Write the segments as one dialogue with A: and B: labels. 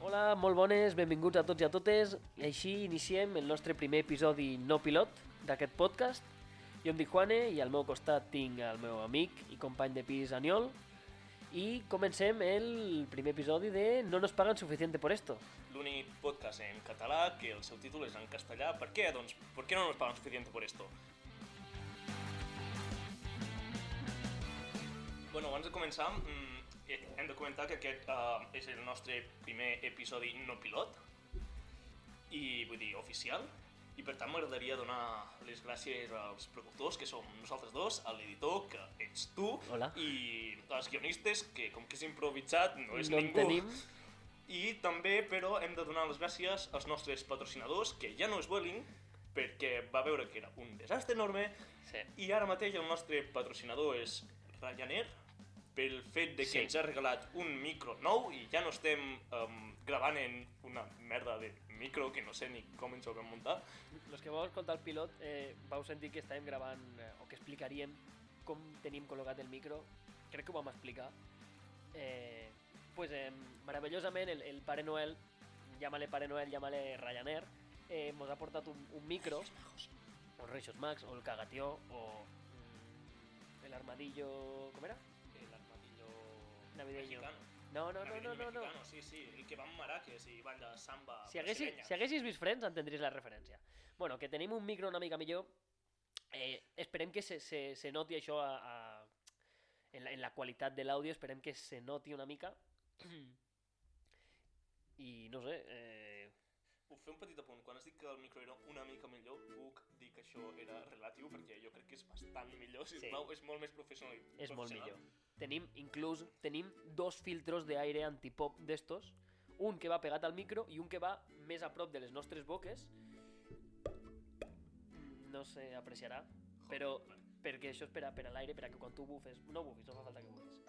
A: Hola, molt bones, benvinguts a tots i a totes. I així iniciem el nostre primer episodi no pilot d'aquest podcast. Jo em dic Juane i al meu costat tinc el meu amic i company de pis Aniol. I comencem el primer episodi de No nos pagan suficiente por esto.
B: L'únic podcast en català que el seu títol és en castellà. Per què? Doncs, ¿por qué no nos pagan suficiente por esto? Bueno, abans de començar, mm, eh, hem de comentar que aquest eh, és el nostre primer episodi no pilot, i vull dir, oficial, i per tant m'agradaria donar les gràcies als productors, que som nosaltres dos, a l'editor, que ets tu,
A: Hola.
B: i als guionistes, que com que és improvisat no és
A: no en
B: ningú.
A: tenim...
B: I també, però, hem de donar les gràcies als nostres patrocinadors, que ja no és Vueling, perquè va veure que era un desastre enorme,
A: Sí.
B: i ara mateix el nostre patrocinador és Ryanair, pel fet de que
A: Sí.
B: ens ha regalat un micro nou i ja no estem um, gravant en una merda de micro que no sé ni com ens ho vam muntar.
A: Los que vau escoltar el pilot eh, vau sentir que estàvem gravant eh, o que explicaríem com tenim col·locat el micro. Crec que ho vam explicar. Eh, pues, eh, meravellosament el, el Pare Noel, llámale Pare Noel, llámale Ryanair, eh, mos ha portat un, un micro, o Reixos Max, o el Cagatió, o mm, el Armadillo... Com era?
B: El armadillo
A: Navideño.
B: mexicano.
A: No, no, no, no,
B: Navideño
A: no. no.
B: mexicano, Sí, sí, el que va amb maraques i balla samba
A: Si haguessis,
B: brasileña.
A: si haguessis vist Friends entendries la referència. Bueno, que tenim un micro una mica millor. Eh, esperem que se, se, se noti això a, a, en, la, en la qualitat de l'àudio, esperem que se noti una mica. I no sé, eh,
B: Puc fer un petit apunt. Quan has dit que el micro era una mica millor, puc dir que això era relatiu, perquè jo crec que és bastant millor, si
A: Sí.
B: sí. és molt més professional.
A: és molt millor.
B: professional.
A: Tenim, inclús, tenim dos filtros d'aire antipop d'estos, un que va pegat al micro i un que va més a prop de les nostres boques. No s'apreciarà, però
B: Joder, vale.
A: perquè això és per a, per a l'aire, per a que quan tu bufes... No bufis, no fa falta que bufis.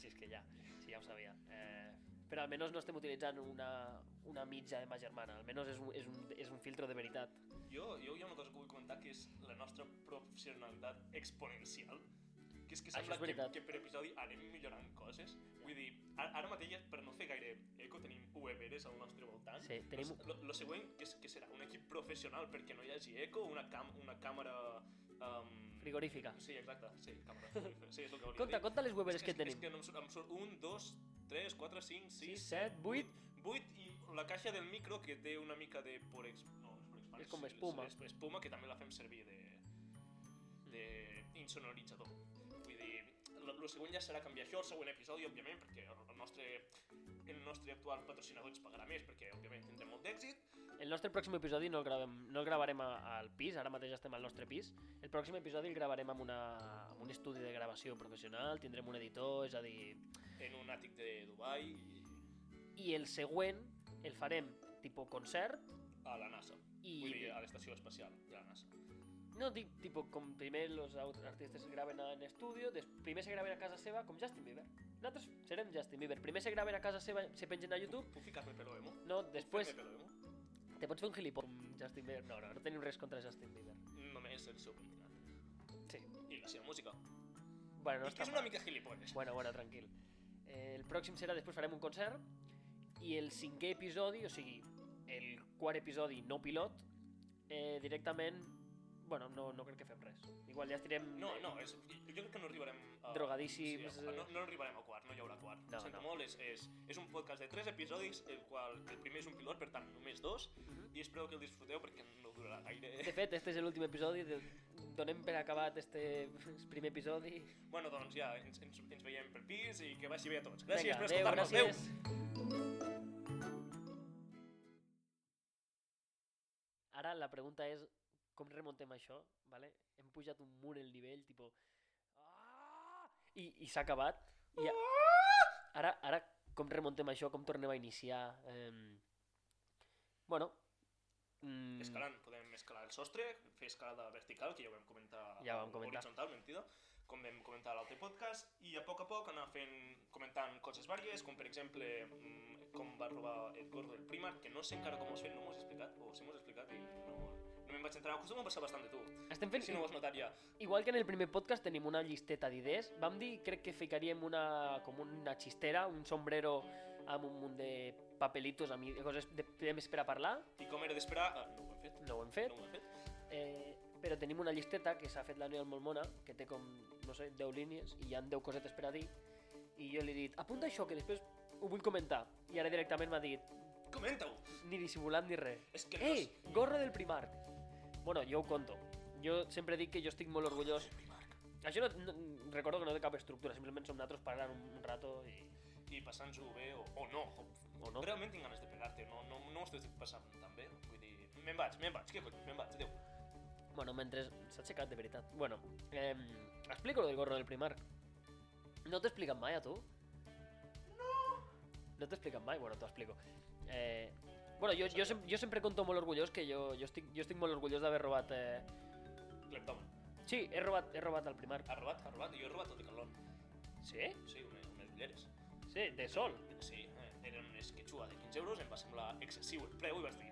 A: Si és que ja, si ja ho sabia. Eh, però almenys no estem utilitzant una, una mitja de ma germana, almenys és un, és un, és un filtre de veritat.
B: Jo, jo hi ha una cosa que vull comentar, que és la nostra professionalitat exponencial. Que és que
A: Això
B: sembla
A: és
B: que,
A: veritat.
B: que per episodi anem millorant coses. Vull dir, ara, ara mateix, per no fer gaire eco, tenim UEBers al nostre voltant.
A: Sí, tenim-
B: Lo, lo, lo següent, que, és, que serà un equip professional perquè no hi hagi eco, una, cam, una càmera... Um...
A: Frigorífica.
B: Sí, exacte, sí, càmera frigorífica. Sí, és el que hauria de
A: Conta,
B: dir.
A: conta les
B: És
A: weberes que,
B: és
A: tenim.
B: És que no em surt, em surt 1, 2, 3, 4, 5, 6,
A: Sis, set, vuit.
B: 8 i la caixa del micro que té una mica de porex... No, és porex
A: És com espuma.
B: És, espuma que també la fem servir de de insonoritzador. Vull dir, el següent ja serà canviar això, el següent episodi, òbviament, perquè el el nostre, el nostre actual patrocinador ens pagarà més, perquè, òbviament, tindrem molt d'èxit.
A: El nostre pròxim episodi no el, gravem, no el gravarem a- al pis, ara mateix estem al nostre pis. El pròxim episodi el gravarem amb, una, amb un estudi de gravació professional, tindrem un editor, és a dir...
B: en un àtic de Dubai i
A: I el següent el farem tipus concert,
B: a la NASA.
A: I-
B: Vull dir, a l'estació espacial de la NASA.
A: No, dic, tipo, com primer los aut- artistes graven en estudio, des, primer se graven a casa seva, com Justin Bieber. Nosaltres serem Justin Bieber. Primer se graven a casa seva, se pengen a YouTube.
B: Puc ficar-me pelo emo?
A: No,
B: Puc
A: després
B: fer-me pelo emo?
A: te pots fer un gilipolles com Justin Bieber. No, no, no tenim res contra Justin Bieber.
B: només el seu continent.
A: Sí.
B: I la seva música.
A: Bueno, no
B: I que
A: està
B: és una
A: mal.
B: mica gilipolles.
A: Bueno, bueno, tranquil. Eh, el pròxim serà, després farem un concert, i el cinquè episodi, o sigui, el quart episodi no pilot, eh, directament, bueno, no, no crec que fem res. Igual ja estirem...
B: No, no, és, jo crec que no arribarem... A,
A: Drogadíssims,
B: Sí, a,
A: eh.
B: no, no arribarem a quart, no hi haurà quart.
A: No,
B: No, Sento
A: no.
B: no. molt, és, és, és un podcast de tres episodis, el qual el primer és un pilot, per tant, només dos,
A: Mhm.
B: i espero que el disfruteu perquè no durarà
A: De
B: gaire.
A: fet, este és l'últim episodi, de... donem per acabat este primer episodi.
B: bueno, doncs ja, ens, ens, ens veiem per pis i que vagi bé a tots. Gràcies per
A: adéu,
B: escoltar-nos.
A: gràcies. Ara la pregunta és com remontem això, vale? hem pujat un mur el nivell, tipo... "Ah!" I, i s'ha acabat. I a-
B: Ah!
A: ara, ara com remontem això, com tornem a iniciar... Eh... Bueno... Mm...
B: Escalant, podem escalar el sostre, fer escalada vertical, que ja ho vam comentar,
A: Ja ho vam comentar.
B: horizontal, mentida, com vam comentar a l'altre podcast, i a poc a poc anar fent, comentant coses vàries, com per exemple mm, com va robar el gordo del Primark, que no sé encara com us fent, no m'ho has explicat, o si m'ho has explicat i no, no me'n vaig entrar, acostuma a passar bastant de tu,
A: Estem fent...
B: si no ho has notat ja.
A: Igual que en el primer podcast tenim una llisteta d'idees, vam dir, crec que ficaríem una, com una xistera, un sombrero amb un munt de papelitos, amb i- coses de temes per a parlar,
B: I com era d'esperar? Ah, no ho hem fet.
A: no ho hem fet,
B: No ho hem fet.
A: eh, però tenim una llisteta que s'ha fet la Noel molt mona, que té com, no sé, 10 línies i hi ha 10 cosetes per a dir, i jo li he dit, apunta això, que després ho vull comentar. I ara directament m'ha dit,
B: Comenta-ho!
A: ni dissimulant ni res.
B: És que
A: Ei, gorra del Primark. Bueno, jo ho conto. Jo sempre dic que jo estic molt orgullós. Això Ah, no, no recordo que no té cap estructura, simplement som nosaltres parlant un, un rato i...
B: i passant-s'ho bé o, o no.
A: O no.
B: Realment tinc ganes de pegar-te, no, no, no ho estic passant tan bé. Vull dir, me'n vaig, me'n vaig, què cony, me'n vaig, adéu.
A: Bueno, mentre s'ha aixecat de veritat. Bueno, eh, explico lo del gorro del Primark. No t'ho he explicat mai a tu? No! No t'ho he explicat mai? Bueno, t'ho explico. Eh, bueno, jo, jo, sem jo sempre conto molt orgullós que jo, jo, estic, jo estic molt orgullós d'haver robat... Eh...
B: Cleptòman,
A: Sí, he robat, he robat el Primark.
B: ha robat, ha robat, jo he robat tot i calor.
A: Ah, Sí?
B: Sí, unes, unes ulleres.
A: Sí, de sol.
B: Sí, eh, eren unes quechua de 15 euros, em va semblar excessiu el preu i vaig dir...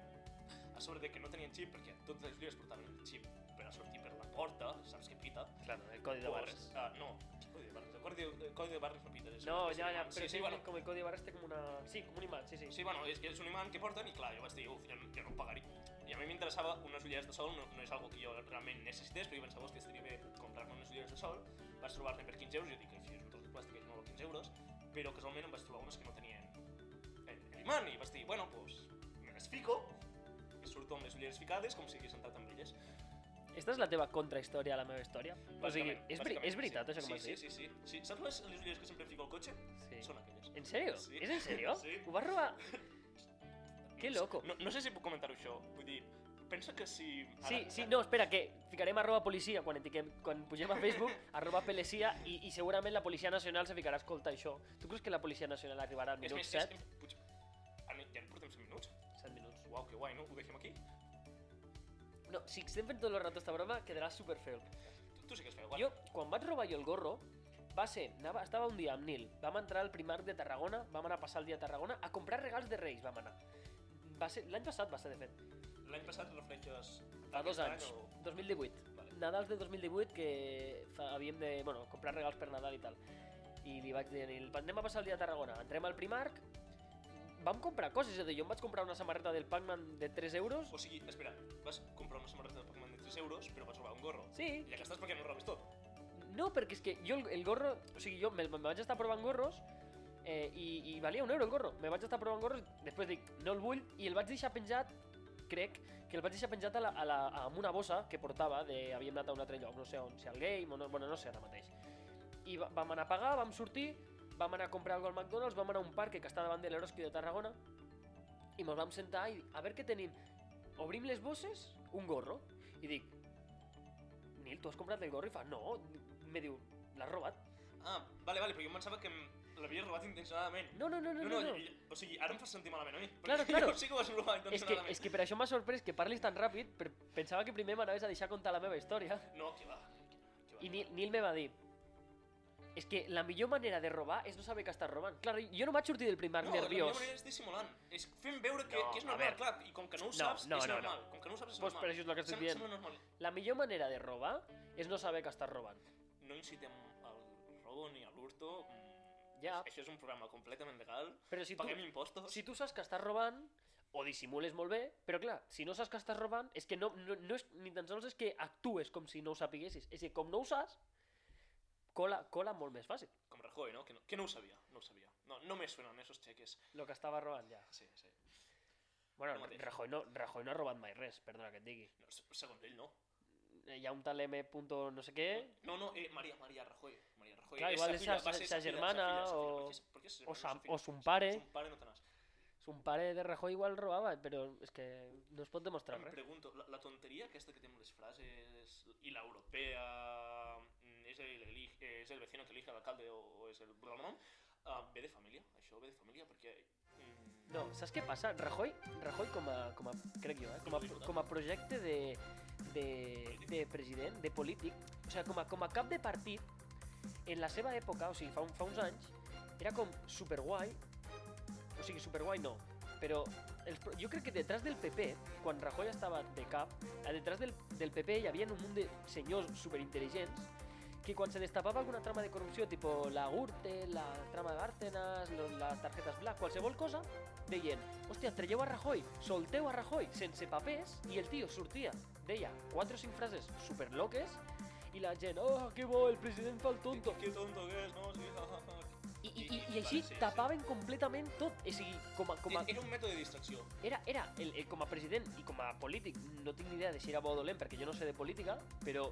B: A sobre de que no tenien xip, perquè totes les ulleres portaven el xip per a sortir per la porta, saps que pita,
A: Claro, el codi de barres.
B: Ah, no, el codi de barres, el codi de, el codi de barres no pita. és-
A: No,
B: és
A: ja,
B: un
A: ja,
B: imant.
A: però
B: sí, sí, bueno,
A: com el codi de barres té com una... Sí, com un imant, sí, sí.
B: Sí, bueno, és, és un imant que porten i clar, jo vaig dir, uf, jo, no- jo no ho pagaré. I a mi m'interessava unes ulleres de sol, no, no és algo que jo realment necessités, però jo pensava "Hòstia, estaria bé comprar-me unes ulleres de sol, vaig trobar-ne per 15 euros, i jo dic, això és un tros de plàstic, no val 15 euros, però casualment em vaig trobar unes que no tenien el, el imant, i vaig dir, bueno, doncs, pues, me les fico, i surto amb les ulleres ficades, com si hagués entrat amb elles.
A: Esta és la teva contrahistòria a la meva història. O sigui,
B: Bàsicament,
A: és, veri
B: bàsicament,
A: és veritat,
B: sí.
A: això que m'has
B: sí,
A: dit?
B: sí, sí, sí, sí. Saps les, les ulleres que sempre fico al cotxe?
A: Sí.
B: Són aquelles.
A: En sèrio?
B: Sí.
A: És en sèrio?
B: Sí.
A: Ho vas robar? Que
B: No sé-
A: loco.
B: No, no sé si puc comentar-ho això, vull dir, pensa que si... ara-
A: Sí, sí, no, espera, que ficarem arroba policia quan, etiquem, quan pugem a Facebook, arroba policia, i, i segurament la Policia Nacional se ficarà a escoltar això. Tu creus que la Policia Nacional arribarà al
B: És
A: minut
B: més,
A: 7?
B: és, puig... Ah, no, ja en portem 5 minuts?
A: 7 minuts.
B: Uau, que guai, no? Ho deixem aquí?
A: No, si estem fent tot el rato esta broma, quedarà superfeu.
B: Tu, tu sí que has fet guai.
A: Jo, quan vaig robar jo el gorro, va ser, anava, estava un dia amb Nil, vam entrar al Primark de Tarragona, vam anar a passar el dia a Tarragona, a comprar regals de Reis vam anar. Va ser, l'any passat va ser, de fet,
B: L'any passat refereixes...
A: fa dos
B: aquest
A: anys,
B: any o-
A: 2018.
B: Vale.
A: Nadals de 2018, que fa, havíem de, bueno, comprar regals per Nadal i tal. I li vaig dir a Nil, anem a passar el dia a Tarragona, entrem al Primark, vam comprar coses, és a dir, jo em vaig comprar una samarreta del Pac-Man de 3 euros,
B: O sigui, espera, vas comprar una samarreta de Pokémon de 3 euros, però vas robar un gorro.
A: sí,
B: I la gastes perquè no robes tot.
A: No, perquè és que jo el, el gorro... O sigui, jo me, me vaig estar provant gorros eh, i, i valia un euro el gorro. Me vaig estar provant gorros, després dic, no el vull, i el vaig deixar penjat, crec, que el vaig deixar penjat a la, a la, amb una bossa que portava, de, havíem anat a un altre lloc, no sé on, si al game o no, bueno, no sé ara mateix. I va- vam anar a pagar, vam sortir, vam anar a comprar alguna al McDonald's, vam anar a un parc que està davant de l'Eroski de Tarragona i ens vam sentar i a veure què tenim. Obrim les bosses, un gorro, i dic, Nil, tu has comprat el gorro? I fa, no, me diu, l'has robat?
B: Ah, vale, vale, però jo em pensava que em- l'havies robat intencionadament.
A: No, no, no, no, no, no.
B: i- O sigui, ara em fas sentir malament a mi. perquè
A: Claro, claro.
B: Jo sí que ho has
A: És
B: robat
A: que,
B: intencionadament.
A: és que per això m'ha sorprès que parlis tan ràpid, però pensava que primer m'anaves a deixar contar la meva història.
B: No, que va. Que va.
A: I Nil, Nil me va dir, és que la millor manera de robar és no saber que estàs robant. Clar, jo no vaig sortir del primark
B: No, la millor
A: nerviós.
B: manera és dissimulant. És fent veure que,
A: No,
B: que és
A: a
B: normal,
A: veure.
B: clar, i com que no ho
A: No,
B: saps,
A: no,
B: és
A: no, no.
B: normal. Com que no ho saps, és
A: Pues
B: normal.
A: per això és el que estic
B: Sembla,
A: dient.
B: sembla normal.
A: La millor manera de robar és no saber que estàs robant.
B: no incitem al robo ni a l'hurto.
A: Ja,
B: Això és un programa completament legal.
A: però si tu,
B: Paguem impostos.
A: si tu saps que estàs robant, o dissimules molt bé, però clar, si no saps que estàs robant, és que no, no, no és, ni tan sols és que actues com si no ho sapiguessis. És que com no ho saps, cola, cola molt més fàcil.
B: Com Rajoy, no? Que, no? que no ho sabia, no ho sabia. No, no me suenan esos cheques.
A: Lo que estava robant ja.
B: Sí, sí.
A: Bueno,
B: El mateix.
A: Rajoy no, Rajoy no ha robat mai res, perdona que et digui.
B: No, se- segons ell, no.
A: Eh, Hi ha un tal M. punto no sé què,
B: No, no, eh, Maria, Maria Rajoy. Maria Rajoy.
A: Clar,
B: És
A: igual
B: sa
A: és
B: filla,
A: sa-
B: va ser
A: sa
B: sa filla,
A: germana
B: sa filla, sa filla.
A: o-
B: Per què- Per què se
A: o,
B: sa
A: sa,
B: filla?
A: o son pare.
B: Son pare no te n'has.
A: Son pare de Rajoy igual robava, però és que no es pot demostrar
B: Em
A: res.
B: pregunto, la, la tonteria aquesta que té amb les frases i l'europea, mm, és el, eli- és el vecino que elige l'alcalde o, o és el... blablabla, Uh, ve de família, això ve de família, perquè... Mm,
A: No, saps què passa? Rajoy, Rajoy com a, com a crec jo, eh? com, a, com a projecte de, de, de president, de polític, o sigui, com a, com a cap de partit, en la seva època, o sigui, fa, un, fa uns anys, era com superguai, o sigui, superguai no, però els, pro- jo crec que detrás del PP, quan Rajoy ah, estava de cap, a detrás del, del PP hi havia un munt de senyors superintel·ligents que quan se destapava alguna trama de corrupció, tipus la Urte, la trama de Bárcenas, lo- les targetes Black, qualsevol cosa, deien, hòstia, trelleu a Rajoy, solteu a Rajoy, sense papers, i el tio sortia, deia quatre o cinc frases superloques, i la gent, oh, que bo, el president fa el tonto.
B: Qué tonto que és, no? Sí, ja, ja, ja.
A: I, i, i,
B: I-
A: i així
B: vale, sí, sí.
A: tapaven completament tot. O sigui, com a, com a,
B: Era un mètode de distracció.
A: era, era el, el, com a president i com a polític, no tinc ni idea de si era bo o dolent perquè jo no sé de política, però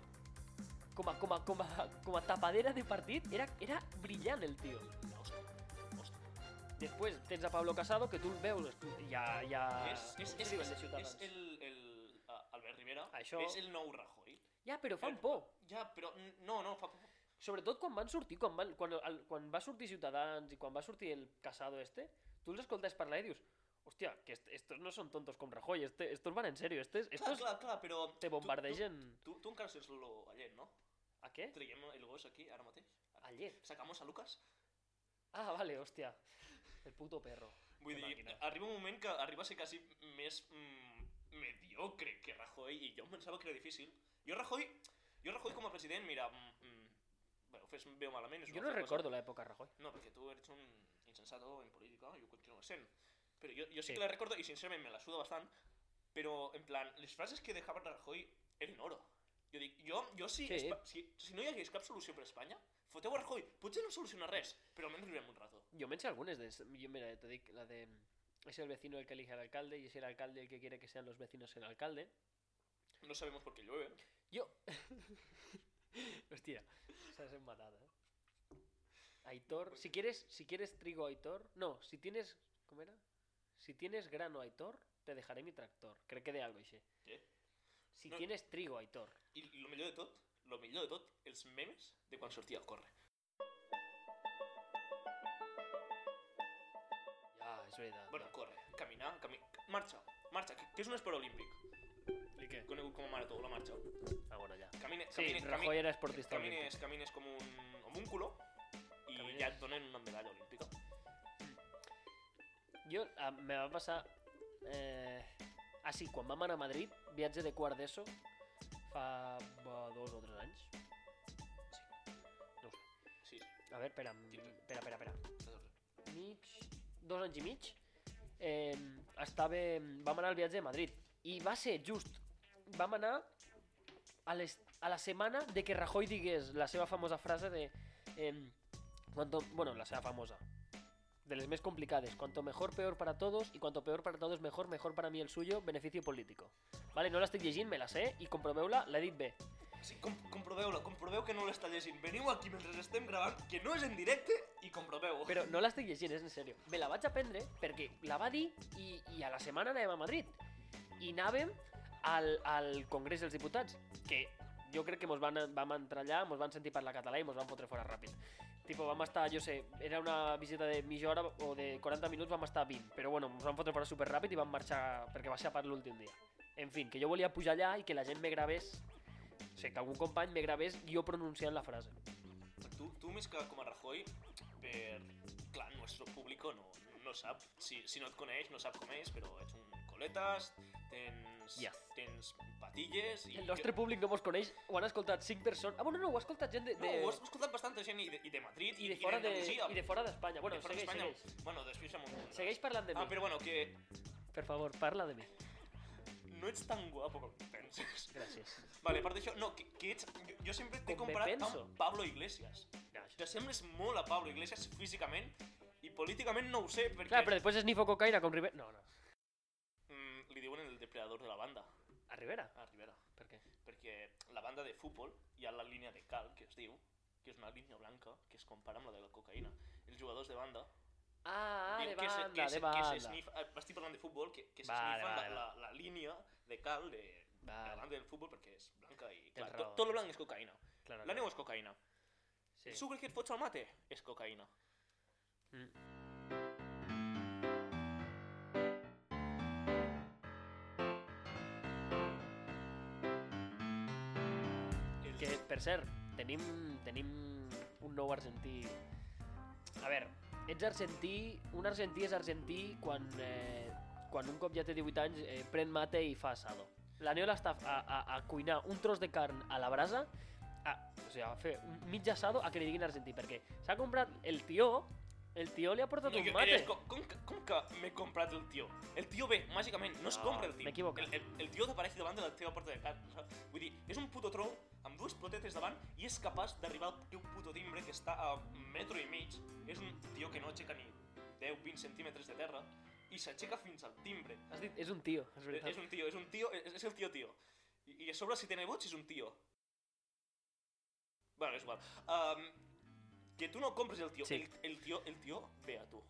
A: com a, com a, com a, com a tapadera de partit era, era brillant el tio.
B: Hòstia, hòstia.
A: Després tens a Pablo Casado que tu el veus ja... ja
B: és, és, és,
A: escriuen
B: és,
A: de Ciutadans.
B: és el, el ah, Albert Rivera,
A: Això-
B: és el nou Rajoy.
A: Ja, però fan por.
B: Ja, però n- no, no, fa por.
A: Sobretot quan van sortir, quan, van, quan, el, quan va sortir Ciutadans i quan va sortir el Casado este, tu els escoltes parlar i dius hòstia, que est estos no són tontos com Rajoy, este, estos van en serio, estos,
B: Clar,
A: estos
B: clar, clar, però...
A: te bombardegen...
B: Tu, tu, tu encara sents l'olor a llet, no?
A: A què?
B: Traiem el gos aquí, ara mateix.
A: A llet.
B: Sacamos a Lucas.
A: Ah, vale, hòstia. El puto perro.
B: Vull
A: Qué
B: dir,
A: màquina.
B: arriba un moment que arriba a ser quasi més mm, mediocre que Rajoy i jo em pensava que era difícil. Jo Rajoy, jo Rajoy com a president, mira, mm, mm, bueno, ho fes veu malament. És una
A: Jo no
B: altra cosa.
A: recordo l'època Rajoy.
B: No, perquè tu ets un insensato en política i ho continues sent. Però jo, jo
A: Sí.
B: sí, que la recordo i sincerament me la suda bastant, però en plan, les frases que dejava Rajoy eren oro. Jo dic, jo, jo si,
A: Sí.
B: Espa- si, si no hi hagués cap solució per Espanya, foteu a Rajoy, potser no soluciona res, però almenys riurem un rato.
A: Yo me he hecho algunas de... es- Yo, mira, te digo la de... Es el vecino el que elige al alcalde y es el alcalde el que quiere que sean los vecinos el alcalde.
B: No sabemos por qué llueve.
A: Yo... Hostia, se has matado, ¿eh? Aitor, si quieres, si quieres trigo Aitor... No, si tienes... ¿Cómo era? Si tienes grano Aitor, te dejaré mi tractor. Creo que de algo, ese.
B: Què?
A: Si
B: No.
A: tienes trigo Aitor.
B: I lo millor de tot, lo millor de tot, els memes de quan sortia a córrer.
A: Ya, es verdad.
B: Bueno, córrer, caminar, cami... marxa, marxa, que, que és un esport olímpic,
A: ¿y qué?
B: conegut com a marató, la marxa.
A: Ah, bueno, ya.
B: Camine,
A: Sí,
B: camine,
A: Rajoy era esportista. olímpico.
B: camines, camines com un homúnculo i
A: Camines.
B: ja et donen una medalla olímpica.
A: Jo, a, me va passar... Eh... Ah, sí, quan vam anar a Madrid, viatge de quart d'ESO, fa bo, dos o tres anys.
B: Sí, sí.
A: A veure, espera, mm,
B: Quinze.
A: espera, espera, espera.
B: estàs bé.
A: Mig, dos anys i mig, eh, estava, vam anar al viatge de Madrid. I va ser just, vam anar a, les, a la setmana de que Rajoy digués la seva famosa frase de... Eh, cuanto, bueno, la seva famosa, de les més complicades. Cuanto mejor, peor para todos, y cuanto peor para todos, mejor, mejor para mí el suyo, beneficio político. Vale, no l'estic llegint, me la sé, i comproveu-la, l'he dit bé.
B: Sí, com, comproveu-la, comproveu que no l'està llegint. Veniu aquí mentre estem gravant, que no és en directe, i comproveu-ho.
A: Però no l'estic llegint, és en sèrio. Me la vaig aprendre perquè la va dir i, i a la setmana anàvem a Madrid. I anàvem al, al Congrés dels Diputats, que jo crec que mos van, vam entrar allà, mos van sentir parlar català i mos van fotre fora ràpid. Tipo, vam estar, jo sé, era una visita de mitja hora o de 40 minuts, vam estar 20, però bueno, mos van fotre fora super ràpid i vam marxar perquè va ser a part l'últim dia. En fin, que jo volia pujar allà i que la gent me gravés, o sigui, que algun company me gravés jo pronunciant la frase.
B: Tu, tu més que com a Rajoy, per... Clar, el nostre públic no, no sap, si, si no et coneix, no sap com és, però ets un coletes, tens,
A: Yes.
B: tens patilles... I
A: El nostre públic no mos coneix, ho han escoltat 5 persones... Ah, bueno, no, ho ha escoltat gent de...
B: No,
A: de...
B: ho has escoltat bastanta gent i de, i de Madrid
A: i de fora de,
B: d'Andalusia.
A: i de fora d'Espanya. Bueno,
B: de fora
A: segueix,
B: d'Espanya.
A: segueix.
B: Bueno, després amb un...
A: Segueix parlant de mi.
B: Ah, però bueno, que
A: Per favor, parla de mi.
B: no ets tan guapo com penses.
A: Gràcies.
B: Vale, a part d'això, no, que, que ets... Jo, jo sempre t'he
A: Com me
B: comparat
A: penso.
B: amb Pablo Iglesias. T'assembles molt a Pablo Iglesias físicament i políticament no ho sé, perquè...
A: Clar, però després es nifo cocaïna com Rivera... No, no.
B: Mm, li diuen el depredador de la banda,
A: A Rivera?
B: a Rivera.
A: Per què?
B: Perquè la banda de futbol hi ha la línia de cal, que es diu, que és una línia blanca que es compara amb la de la cocaïna. Els jugadors de banda...
A: Ah, ah,
B: diuen
A: de
B: que se-
A: banda,
B: que
A: de
B: se- Que se
A: banda.
B: sniff, eh, estic parlant de futbol, que, que se
A: Vale,
B: sniffen
A: vale,
B: la, la, la línia de cal de, de la
A: Vale,
B: banda del futbol perquè és blanca i...
A: Tens
B: Clar,
A: raó.
B: tot, tot lo blanc és cocaïna.
A: claro.
B: La neu és cocaïna.
A: Sí.
B: El sucre que et fots al mate és cocaïna.
A: Mm.
B: El...
A: Que, per cert, tenim, tenim un nou argentí... A veure, ets argentí... Un argentí és argentí quan, eh, quan un cop ja té 18 anys eh, pren mate i fa asado. La Neola està a, a, a cuinar un tros de carn a la brasa a, o sigui, a fer un mig assado a que li diguin argentí, perquè s'ha comprat el tió, el tió li ha portat
B: No,
A: un
B: jo
A: mate.
B: diria, com, com, que- com que m'he comprat el tio? El tio ve, màgicament, no, es
A: No,
B: compra el tio.
A: m'he equivocat.
B: El, el, el tio t'apareix davant de la teva porta de casa, saps? Vull dir, és un puto tronc amb dues potetes davant i és capaç d'arribar al teu puto timbre que està a un metro i mig. És un tio que no aixeca ni 10-20 centímetres de terra i s'aixeca fins al timbre.
A: Has dit, és un tio, és
B: És,
A: veritat.
B: és Eh, un tio, és un tio, és, és el tio tio. I, I a sobre si té nebots és un tio. Bueno, és igual. Um, que tu no compres el tio,
A: Sí.
B: el, el tio, el tio ve a tu.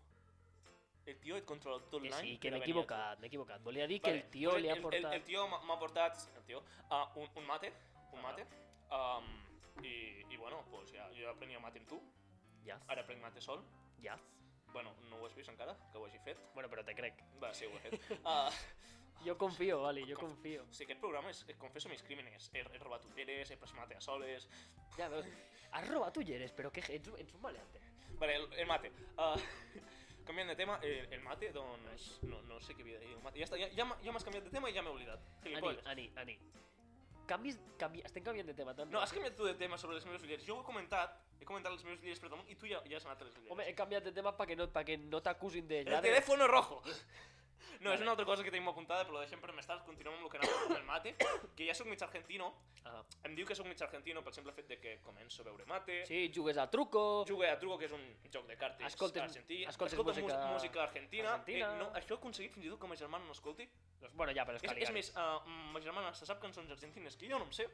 B: El tio et controla tot
A: Que
B: l'any.
A: sí, que
B: per a
A: m'he
B: venir a tu.
A: equivocat, m'he equivocat. Volia dir que
B: Vale,
A: el tio
B: pues
A: li ha
B: el- El, el
A: portat...
B: tio m'ha- m'ha portat el tio, uh, un, un mate, un
A: Ah.
B: mate. Um, i, I bueno, pues ja, jo ja prenia mate amb tu,
A: Ja,
B: ara prenc mate sol.
A: ja.
B: Bueno, no ho has vist encara, que ho hagi fet.
A: Bueno, però te crec.
B: Va, sí, ho he fet. Uh,
A: Jo confio, Oli, jo confio.
B: O sigui, aquest programa és, confesso mis crímenes. He, he robat ulleres, he pres mate a soles...
A: Ja veus, has robat ulleres, però que ets, un- ets un maleante.
B: Vale, el, el mate. Uh, canviant de tema, el, el mate, doncs... No, no sé què havia de dir, el mate. Ja està, ja, ja, m'ha- ja m'has canviat de tema i ja m'he oblidat.
A: Ani,
B: Gilipolles.
A: Ani, Ani. Canvis, canvi... Estem canviant de tema tant.
B: No, has canviat tu de tema sobre les meves ulleres. Jo ho he comentat, he comentat les meves ulleres per damunt i tu ja, ja has anat a les ulleres.
A: Home, he canviat de tema perquè no, pa que no t'acusin de
B: el
A: lladre.
B: teléfono rojo! No, és
A: Vale.
B: una altra cosa que tenim apuntada, però la deixem per més tard. Continuem amb el que anava amb el mate, que ja sóc mig argentino.
A: Ah.
B: Em diu que sóc mig argentino pel simple fet de que començo a beure mate,
A: Sí, jugues a truco...
B: Jugué a Truco, que és un joc de cartes
A: Escoltes-
B: argentí.
A: escoltes
B: Escolta
A: música-
B: mús- música argentina.
A: argentina.
B: Eh, no, això he aconseguit fins i tot que ma germana no escolti.
A: Doncs, Pues, bueno, ja, però és
B: És,
A: Caligari.
B: és més, uh, ma germana se sap cançons argentines que jo no em sé.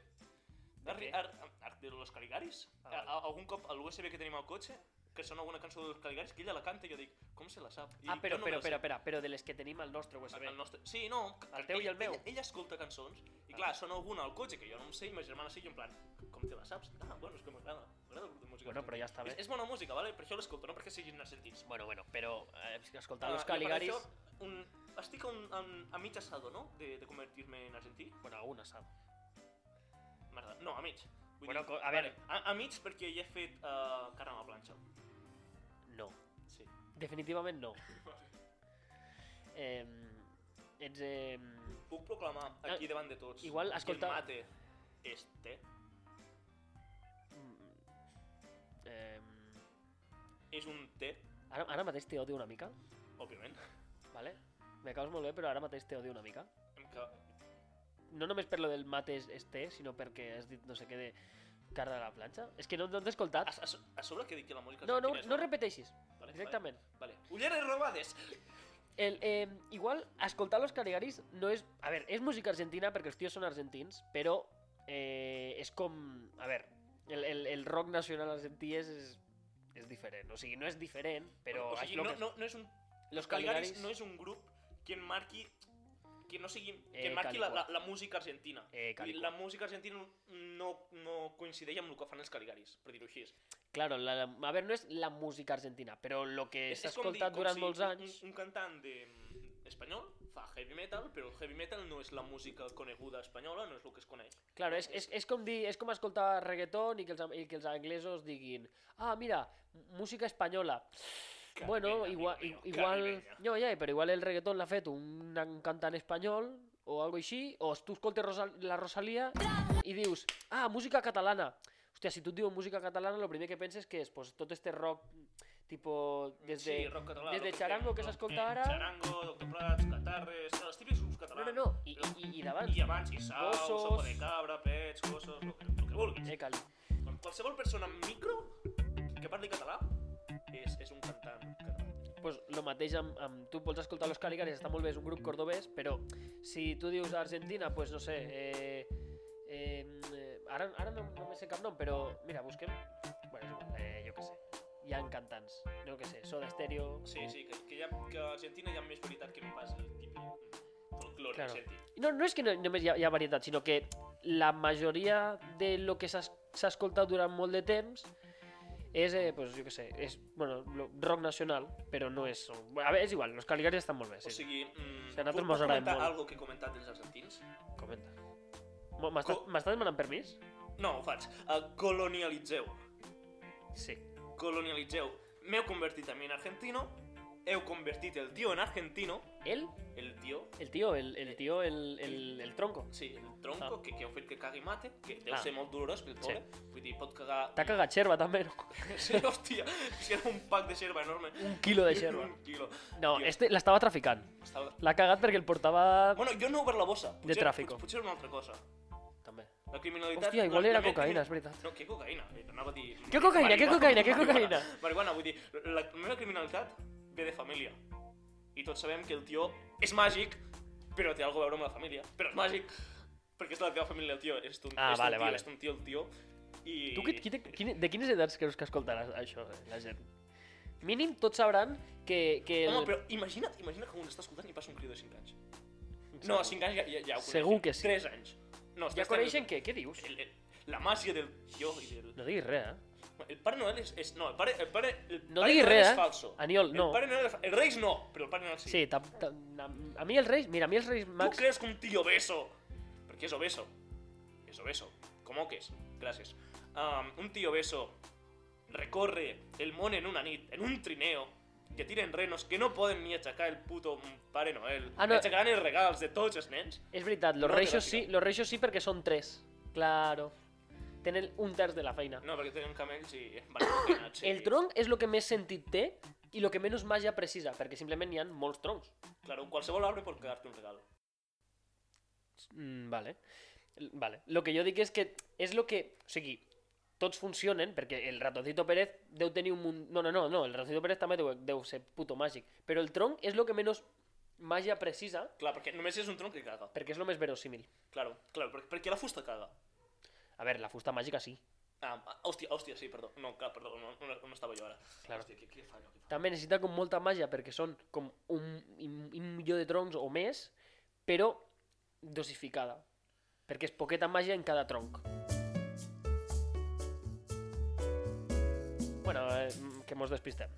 B: Arri,
A: què?
B: ar, ar, de los Caligaris.
A: Ah,
B: A-
A: vale.
B: a- algun cop a l'USB que tenim al cotxe, que sona alguna cançó dels Caligaris, que ella la canta i jo dic, com se la sap? I
A: Ah, però,
B: jo no me
A: però,
B: la sé.
A: però, però, però de les que tenim al nostre USB.
B: El, el nostre... Sí, no.
A: El teu i el meu.
B: Ella, ella escolta cançons, i
A: Ah.
B: clar, sona alguna al cotxe que jo no em sé, i ma germana sí, i jo en plan, com te la saps? Ah, bueno, és que m'agrada, m'agrada el grup de música.
A: Bueno, però ja està bé.
B: És, és bona música, vale? per això l'escolto, no perquè siguin argentins.
A: Bueno, bueno, però eh, escolta,
B: Ah,
A: los
B: i
A: Caligaris...
B: per això, Un, estic a, un, a, un- a mig assado, no?, de, de convertir-me en argentí.
A: Bueno, algun assado.
B: M'agrada. No, a mig. Vull
A: Bueno,
B: dir,
A: co- a veure.
B: vale, A, a mig perquè ja he fet uh, carn a la planxa.
A: No.
B: Sí.
A: Definitivament no. Eh, ets... Eh,
B: Puc proclamar aquí
A: Ah,
B: davant de tots
A: igual, escolta-
B: que el mate és té,
A: mm, eh,
B: és un té,
A: ara, ara mateix te odio una mica,
B: òbviament,
A: vale? Me caus molt bé, però ara mateix te odio una mica.
B: em ca-
A: No només per lo del mate és, és té, sinó perquè has dit no sé què de carn a la planxa. És que no, no t'he
B: A,
A: escoltat.
B: a, so- a sobre que dic que la música...
A: No, no,
B: argentina és
A: no
B: bona.
A: repeteixis,
B: Vale,
A: directament.
B: Vale, vale. Ulleres robades!
A: El, eh, igual, escoltar los Caligaris no és... A veure, és música argentina perquè els tios són argentins, però eh, és com... A veure, el, el, el rock nacional argentí és, és, és diferent. O sigui, no és diferent, però...
B: o sigui,
A: és lo
B: no,
A: que-
B: no, no és un...
A: Los
B: Caligaris,
A: Caligaris...
B: no és un grup que en marqui que no sigui, que
A: Eh,
B: en marqui la, la,
A: Calicut.
B: la música argentina.
A: Eh,
B: Vull dir,
A: Calicut.
B: la música argentina no, no coincideix amb el que fan els Caligaris, per dir-ho així.
A: Eh, Claro, la, la- a veure, no és la música argentina, però el que s'ha
B: com dir-
A: escoltat
B: com
A: durant
B: si
A: molts
B: un-
A: anys...
B: Un, un cantant de mm, espanyol fa heavy metal, però el heavy metal no és la música coneguda espanyola, no és el que es coneix.
A: Claro, és, és, és, com dir, és com escoltar reggaeton i que els, am- i que els anglesos diguin ah, mira, música espanyola. bueno,
B: Caribeña,
A: igual...
B: amigo mío,
A: igual
B: caribeña.
A: no, ja, però igual el reggaeton l'ha fet un, un cantant espanyol o algo així, o tu escoltes Rosa, la Rosalia i dius, ah, música catalana. Hòstia, si tu et diuen música catalana, el primer que penses que és pues, tot este rock tipo des de...
B: Mm, sí, rock català,
A: des de
B: rock que
A: charango
B: fem,
A: que
B: rock-
A: s'escolta ara.
B: Charango, Doctor Prats, Catarres, els típics grups
A: no,
B: catalans.
A: no, no, i, i, i d'abans.
B: I abans, i sau,
A: Gossos.
B: sopa de cabra, pets, gossos, el que, lo que vulguis.
A: Eh, Cali.
B: Qualsevol persona amb micro que parli català és, és un cantant català.
A: pues, lo mateix amb, amb... Tu pots escoltar Los Caligaris, està molt bé, és un grup cordobès, però si tu dius Argentina, pues no sé... Eh, eh, eh, ara ara no, no me sé cap nom, però mira, busquem... Bueno, és igual, eh, jo què sé. Hi ha cantants, no què sé, Soda Stereo...
B: Sí, sí, que, que, hi ha, que a Argentina hi ha més veritat que no pas el típic folclore
A: Claro.
B: claro. argentí.
A: No, no és que no, només hi ha, hi ha varietat, sinó que la majoria de lo que s'ha es- s'ha escoltat durant molt de temps és, eh, pues, jo què sé, és, bueno, lo- rock nacional, però no és... A veure, és igual, los Caligaris estan molt bé, sí.
B: O sigui,
A: O
B: mm,
A: sigui, a nosaltres
B: puc-
A: mos
B: puc
A: agraden
B: comentar
A: molt.
B: algo que he comentat dels argentins?
A: Comenta. Mo- M'estàs
B: Co-
A: m'estàs demanant permís?
B: No, ho faig. Uh, colonialitzeu.
A: Sí.
B: Colonialitzeu. M'heu convertit en mi en argentino, heu convertit el tio en argentino,
A: Ell?
B: el tio,
A: El tio, el, el tio, el, el, el tronco.
B: sí, el tronco,
A: Ah.
B: que, que heu fet que cagui mate, que deu
A: Ah.
B: ser molt dolorós pel pobre, vull dir, pot cagar...
A: T'ha cagat xerva també, no?
B: Sí, hòstia, si era un pack de xerva enorme.
A: Un quilo de xerva.
B: Un quilo.
A: No,
B: Tio,
A: este l'estava traficant.
B: estava-
A: L'ha cagat perquè el portava...
B: Bueno, jo no he obert la bossa. Potser,
A: tràfico.
B: pot- Potser era una altra cosa.
A: També.
B: La criminalitat...
A: Hòstia,
B: la-
A: igual
B: la
A: era
B: me-
A: cocaïna, és veritat.
B: No, què cocaïna? Eh, Anava a dir...
A: Què cocaïna? Què
B: marihuana.
A: cocaïna? Què cocaïna?
B: Marihuana. Marihuana, vull dir, la meva criminalitat ve de família. I tots sabem que el tio és màgic, però té alguna a veure amb la família. Però és màgic, perquè és de la teva família el tio. És ton,
A: Ah,
B: és
A: vale,
B: ton tio,
A: vale.
B: És ton tio el tio. I...
A: Tu qui, qui, te- quin, de quines edats creus que escoltaràs això, eh, la gent? Mínim tots sabran que... que el...
B: Home, però imagina't, imagina't que un està escoltant i passa un crio de 5 anys. No, 5 anys ja, ja, ja ho coneixen.
A: Segur que sí.
B: 3 anys. No,
A: Em Ja coneixen què? Què dius?
B: El, el, la màgia del tio i del...
A: No diguis res, eh?
B: El Pare Noel és... és no, el Pare, el pare, el
A: No
B: pare
A: diguis
B: Noel
A: res,
B: és
A: eh?
B: falso.
A: Aniol, no.
B: El Pare Noel és fa- Els Reis no, però el Pare Noel sí.
A: Sí, tam, tam, a, a mi els Reis... Mira, a mi els Reis
B: Tu
A: Mags...
B: creus que un tio obeso... Perquè és obeso. És obeso. Com que és? Gràcies. Um, un tio obeso recorre el món en una nit, en un trineo, que tiren renos que no poden ni aixecar el puto Pare Noel.
A: Ah, no.
B: Aixecaran els regals de tots els nens.
A: És veritat, los
B: No,
A: reixos
B: gràcies.
A: sí, los reixos sí perquè són tres. Claro. Tenen un terç de la feina.
B: No, perquè tenen camells i... Vale, cocaïnats, sí.
A: El tronc és el que més sentit té i el que menys màgia precisa, perquè simplement hi ha molts troncs.
B: Claro, qualsevol arbre pot quedar-te un regal.
A: Mm, vale. L- Vale. Lo que jo dic és que és lo que... O sigui, tots funcionen, perquè el ratoncito Pérez deu tenir un munt... No, no, no, no el ratoncito Pérez també deu, deu ser puto màgic. Però el tronc és lo que menys màgia precisa,
B: Clar, perquè només és un tronc que caga.
A: perquè és lo més verosímil.
B: Claro, claro, perquè, perquè la fusta caga.
A: A veure, la fusta màgica sí.
B: Ah, ah, hòstia, hòstia, sí, perdó. No, clar, perdó, no, no, no estava jo ara.
A: Claro.
B: Hòstia, què, què fallo? Què fallo?
A: També necessita com molta màgia, perquè són com un, un, un milió de troncs o més, però dosificada. Perquè és poqueta màgia en cada tronc. Bueno, eh, mm, que mos despistem.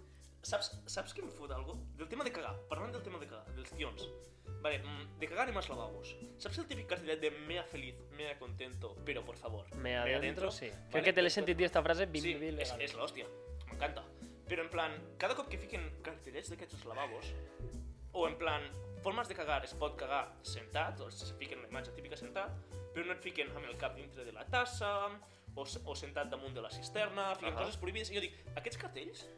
B: Saps, saps què em fot algo? Del tema de cagar. Parlant del tema de cagar, dels tions. Vale, mm, de cagar anem als lavabos. Saps el típic cartellet de mea feliz, mea contento, però por favor,
A: Me adentro,
B: adentro?
A: sí.
B: Vale,
A: Crec que te l'he
B: pues-
A: sentit dir esta frase 20
B: Sí,
A: mil
B: és,
A: vegades.
B: és l'hòstia. M'encanta. Però en plan, cada cop que fiquen cartellets d'aquests lavabos, o en plan, formes de cagar, es pot cagar sentat, o se fiquen la imatge típica sentat, però no et fiquen amb el cap dintre de la tassa, o, s- o sentat damunt de la cisterna, fiquen
A: Ahà.
B: coses prohibides, i jo dic, aquests cartells,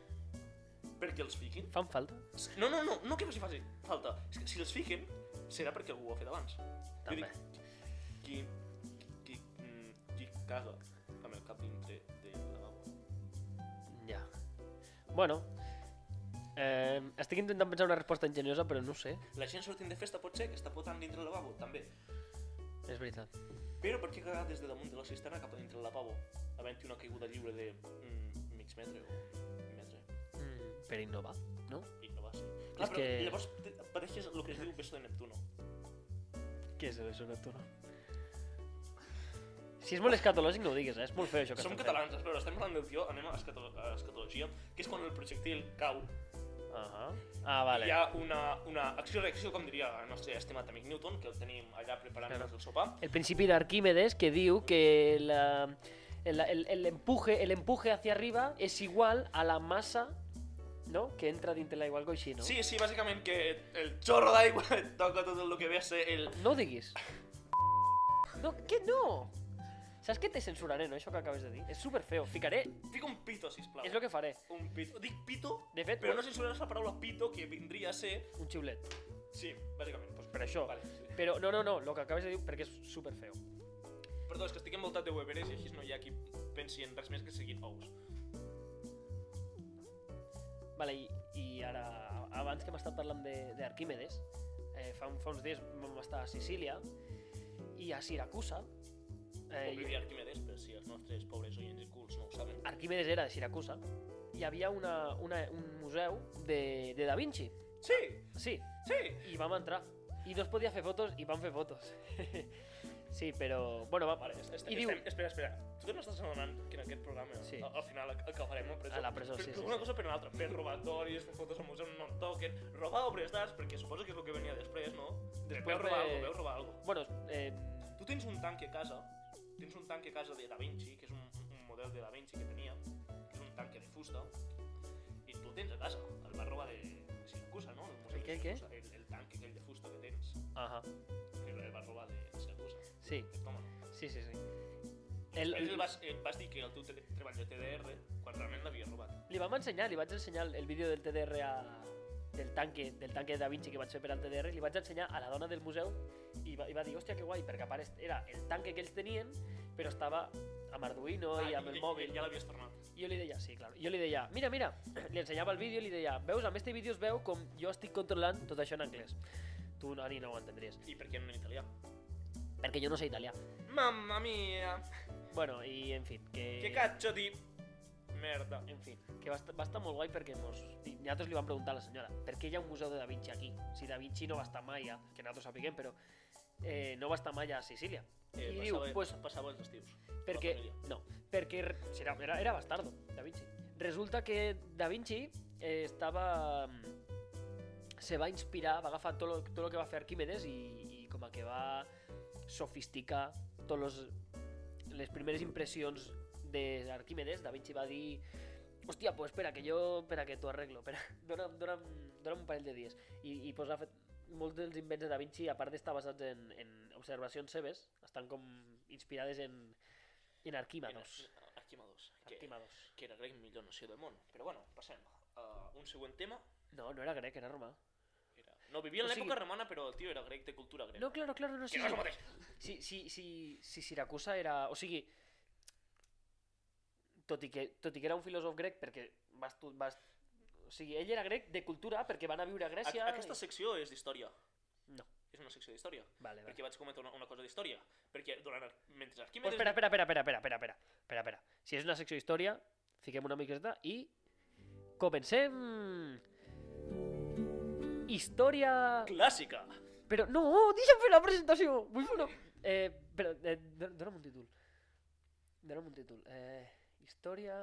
B: perquè els fiquin?
A: Fan falta?
B: S- No, no, no, no que no s'hi faci falta. És que si els fiquen, serà perquè algú ho ha fet abans. Jo
A: També.
B: dic, qui, qui, mm, qui caga amb el cap dintre del lavabo?
A: Ja. Bueno, eh, estic intentant pensar una resposta enginyosa, però no ho sé.
B: La gent sortint de festa pot ser que està potant dintre el lavabo, també.
A: És veritat.
B: Però per què cagar des de damunt de la cisterna cap a dintre el lavabo? Havent-hi una caiguda lliure de mm, mig metre o un metre.
A: Mm, per innovar, no?
B: I no va ser. Clar, però
A: que-
B: llavors te- pateixes el que es diu beso de Neptuno.
A: Què és això nocturno? Si és molt escatològic no ho diguis, eh? és molt feo això que
B: Som
A: estem
B: catalans, però estem parlant del tio, anem a, escato a escatologia, que és quan el projectil cau.
A: fent. Ah, ah
B: Vale.
A: vale.
B: Hi ha una, una acció-reacció, com diria el nostre estimat amic Newton, que el tenim allà preparant-nos
A: Claro.
B: el sopar.
A: El principi d'Arquímedes que diu que la, el, el, el, empuje, el empuje hacia arriba és igual a la massa no? que entra dintre l'aigua, algo així, no?
B: Sí, sí, bàsicament que el xorro d'aigua et toca tot el que ve a ser el...
A: No ho diguis. No, què no? Saps que te censuraré, no, això que acabes de dir? És superfeo, ficaré,
B: Fica un pito, sisplau.
A: és el que faré.
B: Un pito. Dic pito,
A: De fet,
B: però no censuraràs la paraula pito, que vindria a ser...
A: un xiulet.
B: Sí, bàsicament. Doncs
A: Per això.
B: Vale, sí.
A: Però no, no, no, el que acabes de dir perquè és superfeo.
B: Perdó, és que estic envoltat de weberes i així no hi ha qui pensi en res més que seguir ous.
A: Vale, i, i ara, a- abans que hem estat parlant de- d'Arquímedes, eh, fa, un, fa uns dies vam estar a Sicília i a Siracusa.
B: Eh,
A: Eh,
B: Pobre
A: i
B: d'Arquimedes, per si els nostres pobres oients i culs no ho saben.
A: Arquímedes era de Siracusa. Hi havia una, una, un museu de, de Da Vinci.
B: Sí,
A: Sí,
B: sí!
A: i vam entrar. I no es podia fer fotos i vam fer fotos. sí, però... Bueno, va,
B: Vale, est
A: I
B: estem,
A: diu-
B: estem, espera, espera. Tu que no estàs adonant que en aquest programa
A: Sí.
B: al, al final ac- acabarem a presó?
A: A la presó,
B: Per-
A: sí,
B: per
A: sí,
B: Una
A: sí.
B: cosa per l'altra, fer robatoris, fer fotos al museu no em toquen, robar obres d'arts, perquè suposo que és el que venia després, no? Després
A: Després
B: robar
A: ve-
B: alguna veu robar alguna
A: bueno eh,
B: Tu tens un tanc a casa, tens un tanc a casa de Da Vinci, que és un, un model de Da Vinci que tenia, que és un tanque de fusta, i tu el tens a casa, el va robar de Siracusa, no? El museu
A: El què,
B: de
A: què?
B: Siracusa, El, el tanc aquell de fusta que tens,
A: Ajá.
B: que el va robar de Siracusa.
A: Sí,
B: Toma.
A: sí, sí, sí.
B: El,
A: El-
B: el, vas, eh, vas dir que el teu te- treball de TDR, quan realment l'havia robat.
A: Li vam ensenyar, li vaig ensenyar el vídeo del TDR a, del tanque, del tanque de Da Vinci que vaig fer per al TDR, li vaig ensenyar a la dona del museu i va, i va dir, hòstia, que guai, perquè a part est- era el tanque que ells tenien, però estava amb Arduino
B: Ah,
A: i Oh, amb el mòbil.
B: Ja l'havies tornat.
A: I jo li deia, sí, clar, jo li deia, mira, mira, li ensenyava el vídeo i li deia, veus, amb este vídeo es veu com jo estic controlant tot això en anglès. Tu, Ani, no ho entendries,
B: I per què no en italià?
A: perquè jo no sé italià.
B: Mamma mia,
A: Bueno, i en fi, que...
B: que caccio di... Merda.
A: En fi, que va, estar, va estar molt guai perquè mos, i nosaltres li vam preguntar a la senyora per què hi ha un museu de Da Vinci aquí? Si Da Vinci no va estar mai a... que nosaltres sapiguem, però eh, no va estar mai a Sicília.
B: Eh,
A: I diu,
B: passava,
A: pues,
B: passava els estius.
A: perquè...
B: família.
A: No, perquè re- si era, era, era bastardo, Da Vinci. Resulta que Da Vinci eh, estava... se va inspirar, va agafar tot lo, tot lo que va fer Arquímedes i, i com a que va sofisticar tots los, les primeres impressions d'Arquímedes, Da Vinci va dir hòstia, pues espera, que jo, espera, que t'ho arreglo, espera, dona'm, dona'm, dona'm un parell de dies. I, i pues, ha fet molts dels invents de Da Vinci, a part d'estar basats en, en observacions seves, estan com inspirades en, en Arquímedos.
B: Arquimados. Que,
A: Arquímedos.
B: que era grec millor noció del món. Però bueno, passem. Uh, un següent tema.
A: No, no era grec, era romà.
B: Era... No, vivia en
A: O sigui-
B: l'època romana, però el tio era grec de cultura grega.
A: No, claro, claro, no, sí.
B: que no
A: sí.
B: és el mateix.
A: Si, si, si, si Siracusa era... O sigui, tot i, que, tot i que era un filòsof grec, perquè va, estu, va est- o sigui, ell era grec de cultura perquè va anar a viure a
B: Ac-
A: Grècia...
B: Aquesta secció és d'història.
A: No,
B: És una secció d'història.
A: vale, vale.
B: Perquè vaig comentar una, una cosa d'història. Perquè durant, el- mentre
A: Pues
B: Arquímedes...
A: espera, espera, espera, espera, espera, espera, espera, espera, espera. Si és una secció d'història, fiquem una miqueta i comencem! Història...
B: Clàssica!
A: Però no, deixa'm fer la presentació! Vull fer una... Eh, però, eh, don- dona'm un títol. Dona'm un títol. Eh, història...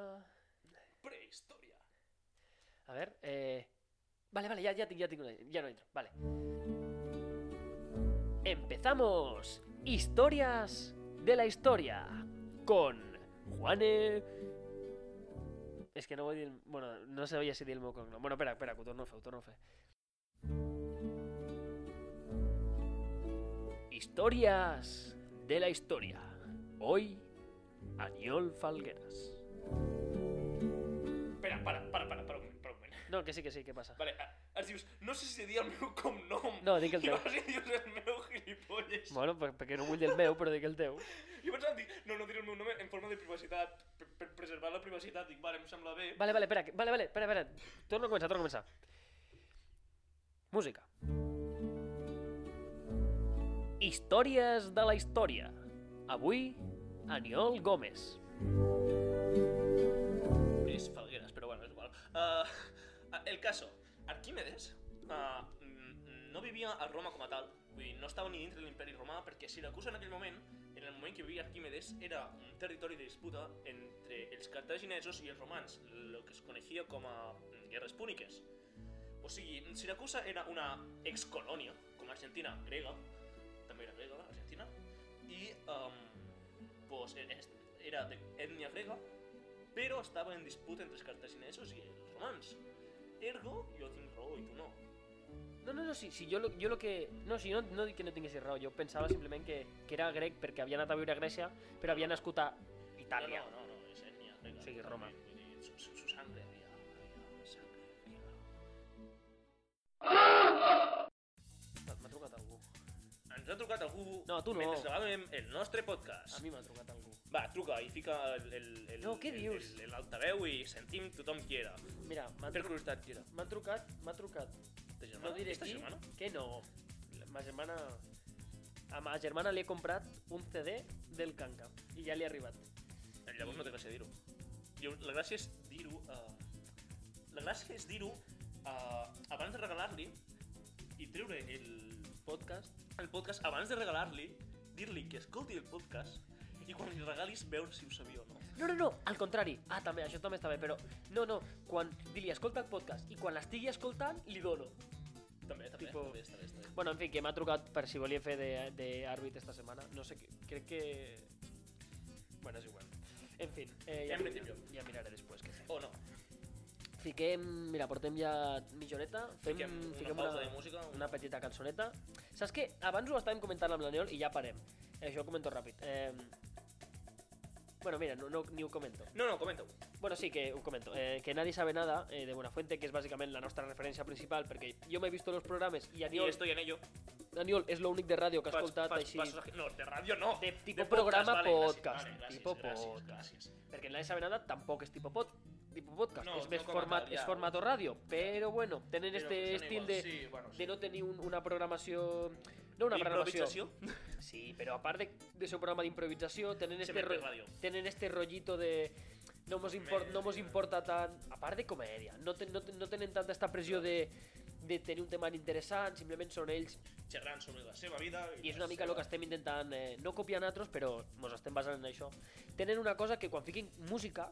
B: Prehistòria!
A: A ver, eh... Vale, vale, ya, ya, tinc- ya tengo una- ya no entro, vale. Empezamos Historias de la Historia con Juane... Es que no voy a dir... Bueno, no sabía si dir el meu cognom. Bueno, espera, espera, que ho torno a fer, ho torno a fer. Historias de la Historia. Hoy, Aniol Falgueras.
B: Espera, para, para, para, para un moment, para un moment.
A: No, que sí, que sí, ¿qué pasa?
B: Vale, a- es dius, no sé si dir el meu cognom.
A: No, dic el
B: I
A: teu.
B: vas i dius el meu gilipolles.
A: Bueno, pues, perquè no vull dir el meu, però dic el teu.
B: Jo pensava, dic, no, no diré el meu nom eh, en forma de privacitat, per, per preservar la privacitat. Dic, vale, em sembla bé.
A: Vale, vale, espera, que- vale, vale, espera, espera. Torno a començar, torno a començar. Música. Històries de la història. Avui, Aniol Gómez.
B: És falgueres, però bueno, és igual. Uh, el caso, Arquímedes uh, no vivia a Roma com a tal, vull dir, no estava ni dintre de l'imperi romà, perquè Siracusa en aquell moment, en el moment que vivia Arquímedes, era un territori de disputa entre els cartaginesos i els romans, el que es coneixia com a mm, guerres púniques. O sigui, Siracusa era una excolònia, com Argentina, grega, també era grega, Argentina, i um, pues, es- era d'ètnia grega, però estava en disputa entre els cartaginesos i els romans. Ergo, jo tinc raó i tu no.
A: No, no, no, sí, sí, jo, lo- jo lo que... No, sí, no, no dic que no tinguessis raó, jo pensava simplement que, que era grec perquè havia anat a viure a Grècia, però havia nascut a Itàlia.
B: No, no, no, no és ètnia. grega.
A: O sigui, Roma.
B: Vull dir, su, su, su sangre havia... havia sangre. grega.
A: M'ha trucat algú.
B: Ens ha trucat algú
A: No, tu no.
B: mentre gravàvem el nostre
A: A
B: podcast.
A: mi m'ha trucat algú.
B: Va, truca i fica el, el, el,
A: No, què
B: el-
A: dius?
B: el- l'altaveu i sentim tothom qui era.
A: Mira, m'ha
B: Per
A: trucat,
B: curiositat, qui era?
A: m'ha trucat, m'ha trucat
B: Ta germana?
A: No diré
B: Esta
A: qui,
B: germana?
A: que no. La- Ma germana... A ma germana li he comprat un CD del Kanka i ja li ha arribat.
B: Llavors no té gràcia dir-ho. Llavors, La gràcia és dir-ho... Uh, la gràcia és dir-ho uh, abans de regalar-li i treure el,
A: Podcast.
B: el podcast, abans de regalar-li, dir-li que escolti el podcast i quan li regalis veure si ho sabia o no.
A: No, no, no, al contrari. Ah, també, això també està bé, però... No, no, quan dir-li escolta el podcast i quan l'estigui escoltant li dono.
B: També, també,
A: Tipo-
B: també, està bé, està bé.
A: Bueno, en fi, que m'ha trucat per si volia fer de- d'àrbit esta setmana. No sé, que- crec que... Bueno, és igual. En fi, eh, ja,
B: En
A: miraré-
B: principio.
A: ja miraré després què fer.
B: O no.
A: Fiquem, mira, portem ja mitjoreta, fem,
B: Fiquem una
A: fiquem
B: pausa de música.
A: una petita cançoneta. Saps què? Abans ho estàvem comentant amb l'Aniol i ja parem. Eh, això ho comento ràpid. Eh, bueno, mira, no, no, ni ho comento.
B: No, no, comenta-ho.
A: Bueno, sí, que un comento. Eh, que Nadie Sabe Nada, eh, de Buenafuente, que és bàsicament la nostra referència principal, perquè jo m'he vist tots els programes i
B: I
A: Aniol,
B: estoy en ello.
A: Aniol és l'únic de ràdio que ha
B: Fas-
A: escoltat
B: fas-
A: així.
B: fas- No, de ràdio no.
A: De tipo programa podcast,
B: gràcies,
A: tipo
B: gràcies,
A: podcast.
B: gràcies.
A: Perquè el Nadie Sabe Nada tampoc és tipus pod, tipus podcast,
B: No,
A: és més
B: no com a
A: format,
B: tal, ja.
A: és formato ràdio, però bueno, tenen
B: Però
A: este
B: funciona
A: estil
B: pues igual,
A: de,
B: sí, bueno, sí.
A: de no tenir un, una programació... No una programació,
B: Improvisació.
A: Sí, pero aparte de su programa de improvisación, tienen este,
B: Siempre
A: ro-
B: radio.
A: tienen este rollito de... No nos, impor- no mos importa tan... aparte de comedia, no, te- no, te- no tienen tanta esta presión de, de tener un tema interesante, simplemente son ellos.
B: Xerrant sobre la seva vida.
A: Y es
B: la
A: una mica lo que
B: seva-
A: estem intentant... eh, no copiar nosaltres, pero nos estem basant en això. Tenen una cosa que quan fiquin música,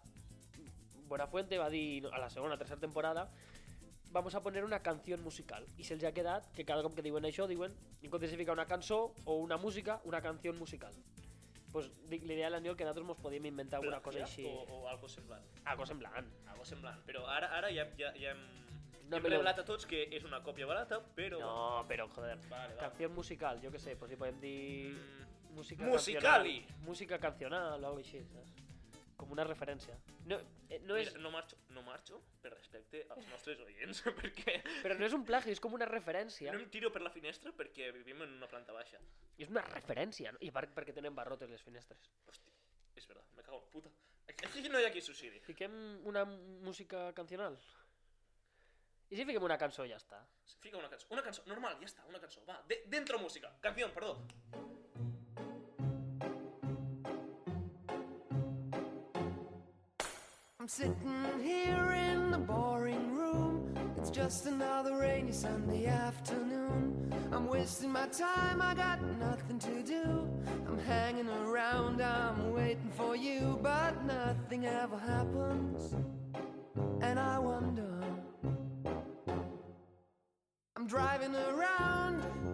A: Buenafuente va dir a la segona o tercera temporada vamos a poner una canción musical. Y se'ls ha quedat que cada cop que diuen això, diuen, en comptes de ficar una cançó o una música, una canción musical. Pues dic, l'idea de l'Aniol que nosaltres mos podíem inventar alguna cosa
B: Plagiat
A: així.
B: O, o algo semblant.
A: Algo semblant.
B: Algo semblant. Però ara, ara ja, ja, ja hem...
A: No,
B: hem
A: però-
B: revelat a tots que és una còpia barata, però...
A: No, però joder.
B: Vale, va.
A: Canción musical, jo que sé, pues si podem dir...
B: Mm,
A: Música
B: Musicali.
A: cancional. Música cancional o algo així, saps? Com una referència. No, eh, no és,
B: Mira, no marxo, no marxo per respecte als nostres oients, perquè
A: però no és un plagi, és com una referència.
B: no em tiro per la finestra perquè vivim en una planta baixa.
A: És una referència, no? I per, perquè tenen barrotes les finestres.
B: És verdad, me cago en puta. Aquí no hi ha qui suïcidi.
A: Fiquem una música cancional? I si fiquem una cançó ja està.
B: Fica una cançó, una cançó, normal, ja està, una cançó, va, de, dentro música, canción, perdó.
C: I'm sitting here in the boring room. It's just another rainy Sunday afternoon. I'm wasting my time, I got nothing to do. I'm hanging around, I'm waiting for you, but nothing ever happens. And I wonder. I'm driving around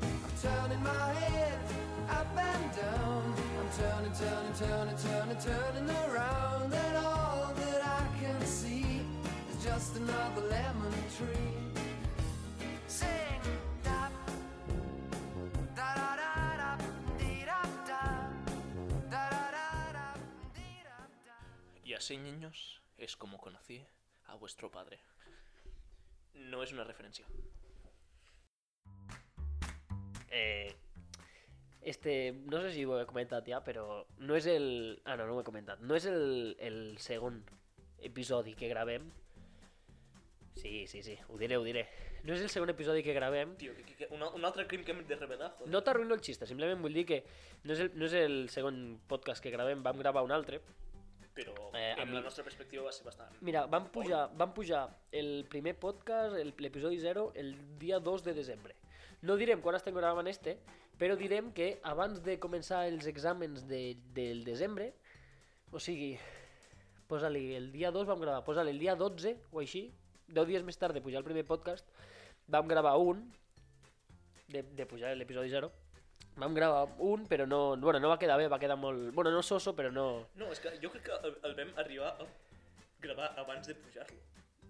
C: I'm turning my head up and down. I'm turning, turning, turning, turning, turning around, and all that I can see is just another lemon tree. Sing, da, da da da da dee da da da da da da dee da da
B: Y así, niños, es como conocí a vuestro padre. No es una referencia.
A: Eh, este, no sé si ho he comentat ja, però no és el... Ah, no, no ho he comentat. No és el, el segon episodi que gravem. Sí, sí, sí, ho diré, ho diré. No és el segon episodi que gravem.
B: Tío, que, que, que un, al- un altre crim que hem de revelar, joder.
A: No t'arruïno el xiste, simplement vull dir que no és, el, no és el segon podcast que gravem, vam gravar un altre.
B: Però
A: Eh,
B: en
A: amb-
B: la nostra perspectiva va ser bastant...
A: Mira, vam pujar, vam pujar el primer podcast, el- l'episodi 0, el dia 2 de desembre. No direm quan estem gravant este, però direm que abans de començar els exàmens de, del desembre, o sigui, posa-li el dia 2 vam gravar, posa-li el dia 12 o així, 10 dies més tard de pujar el primer podcast, vam gravar un, de, de pujar l'episodi 0, vam gravar un, però no, bueno, no va quedar bé, va quedar molt... Bueno, no soso, però no...
B: No, és que jo crec que el, el vam arribar a gravar abans de pujar-lo.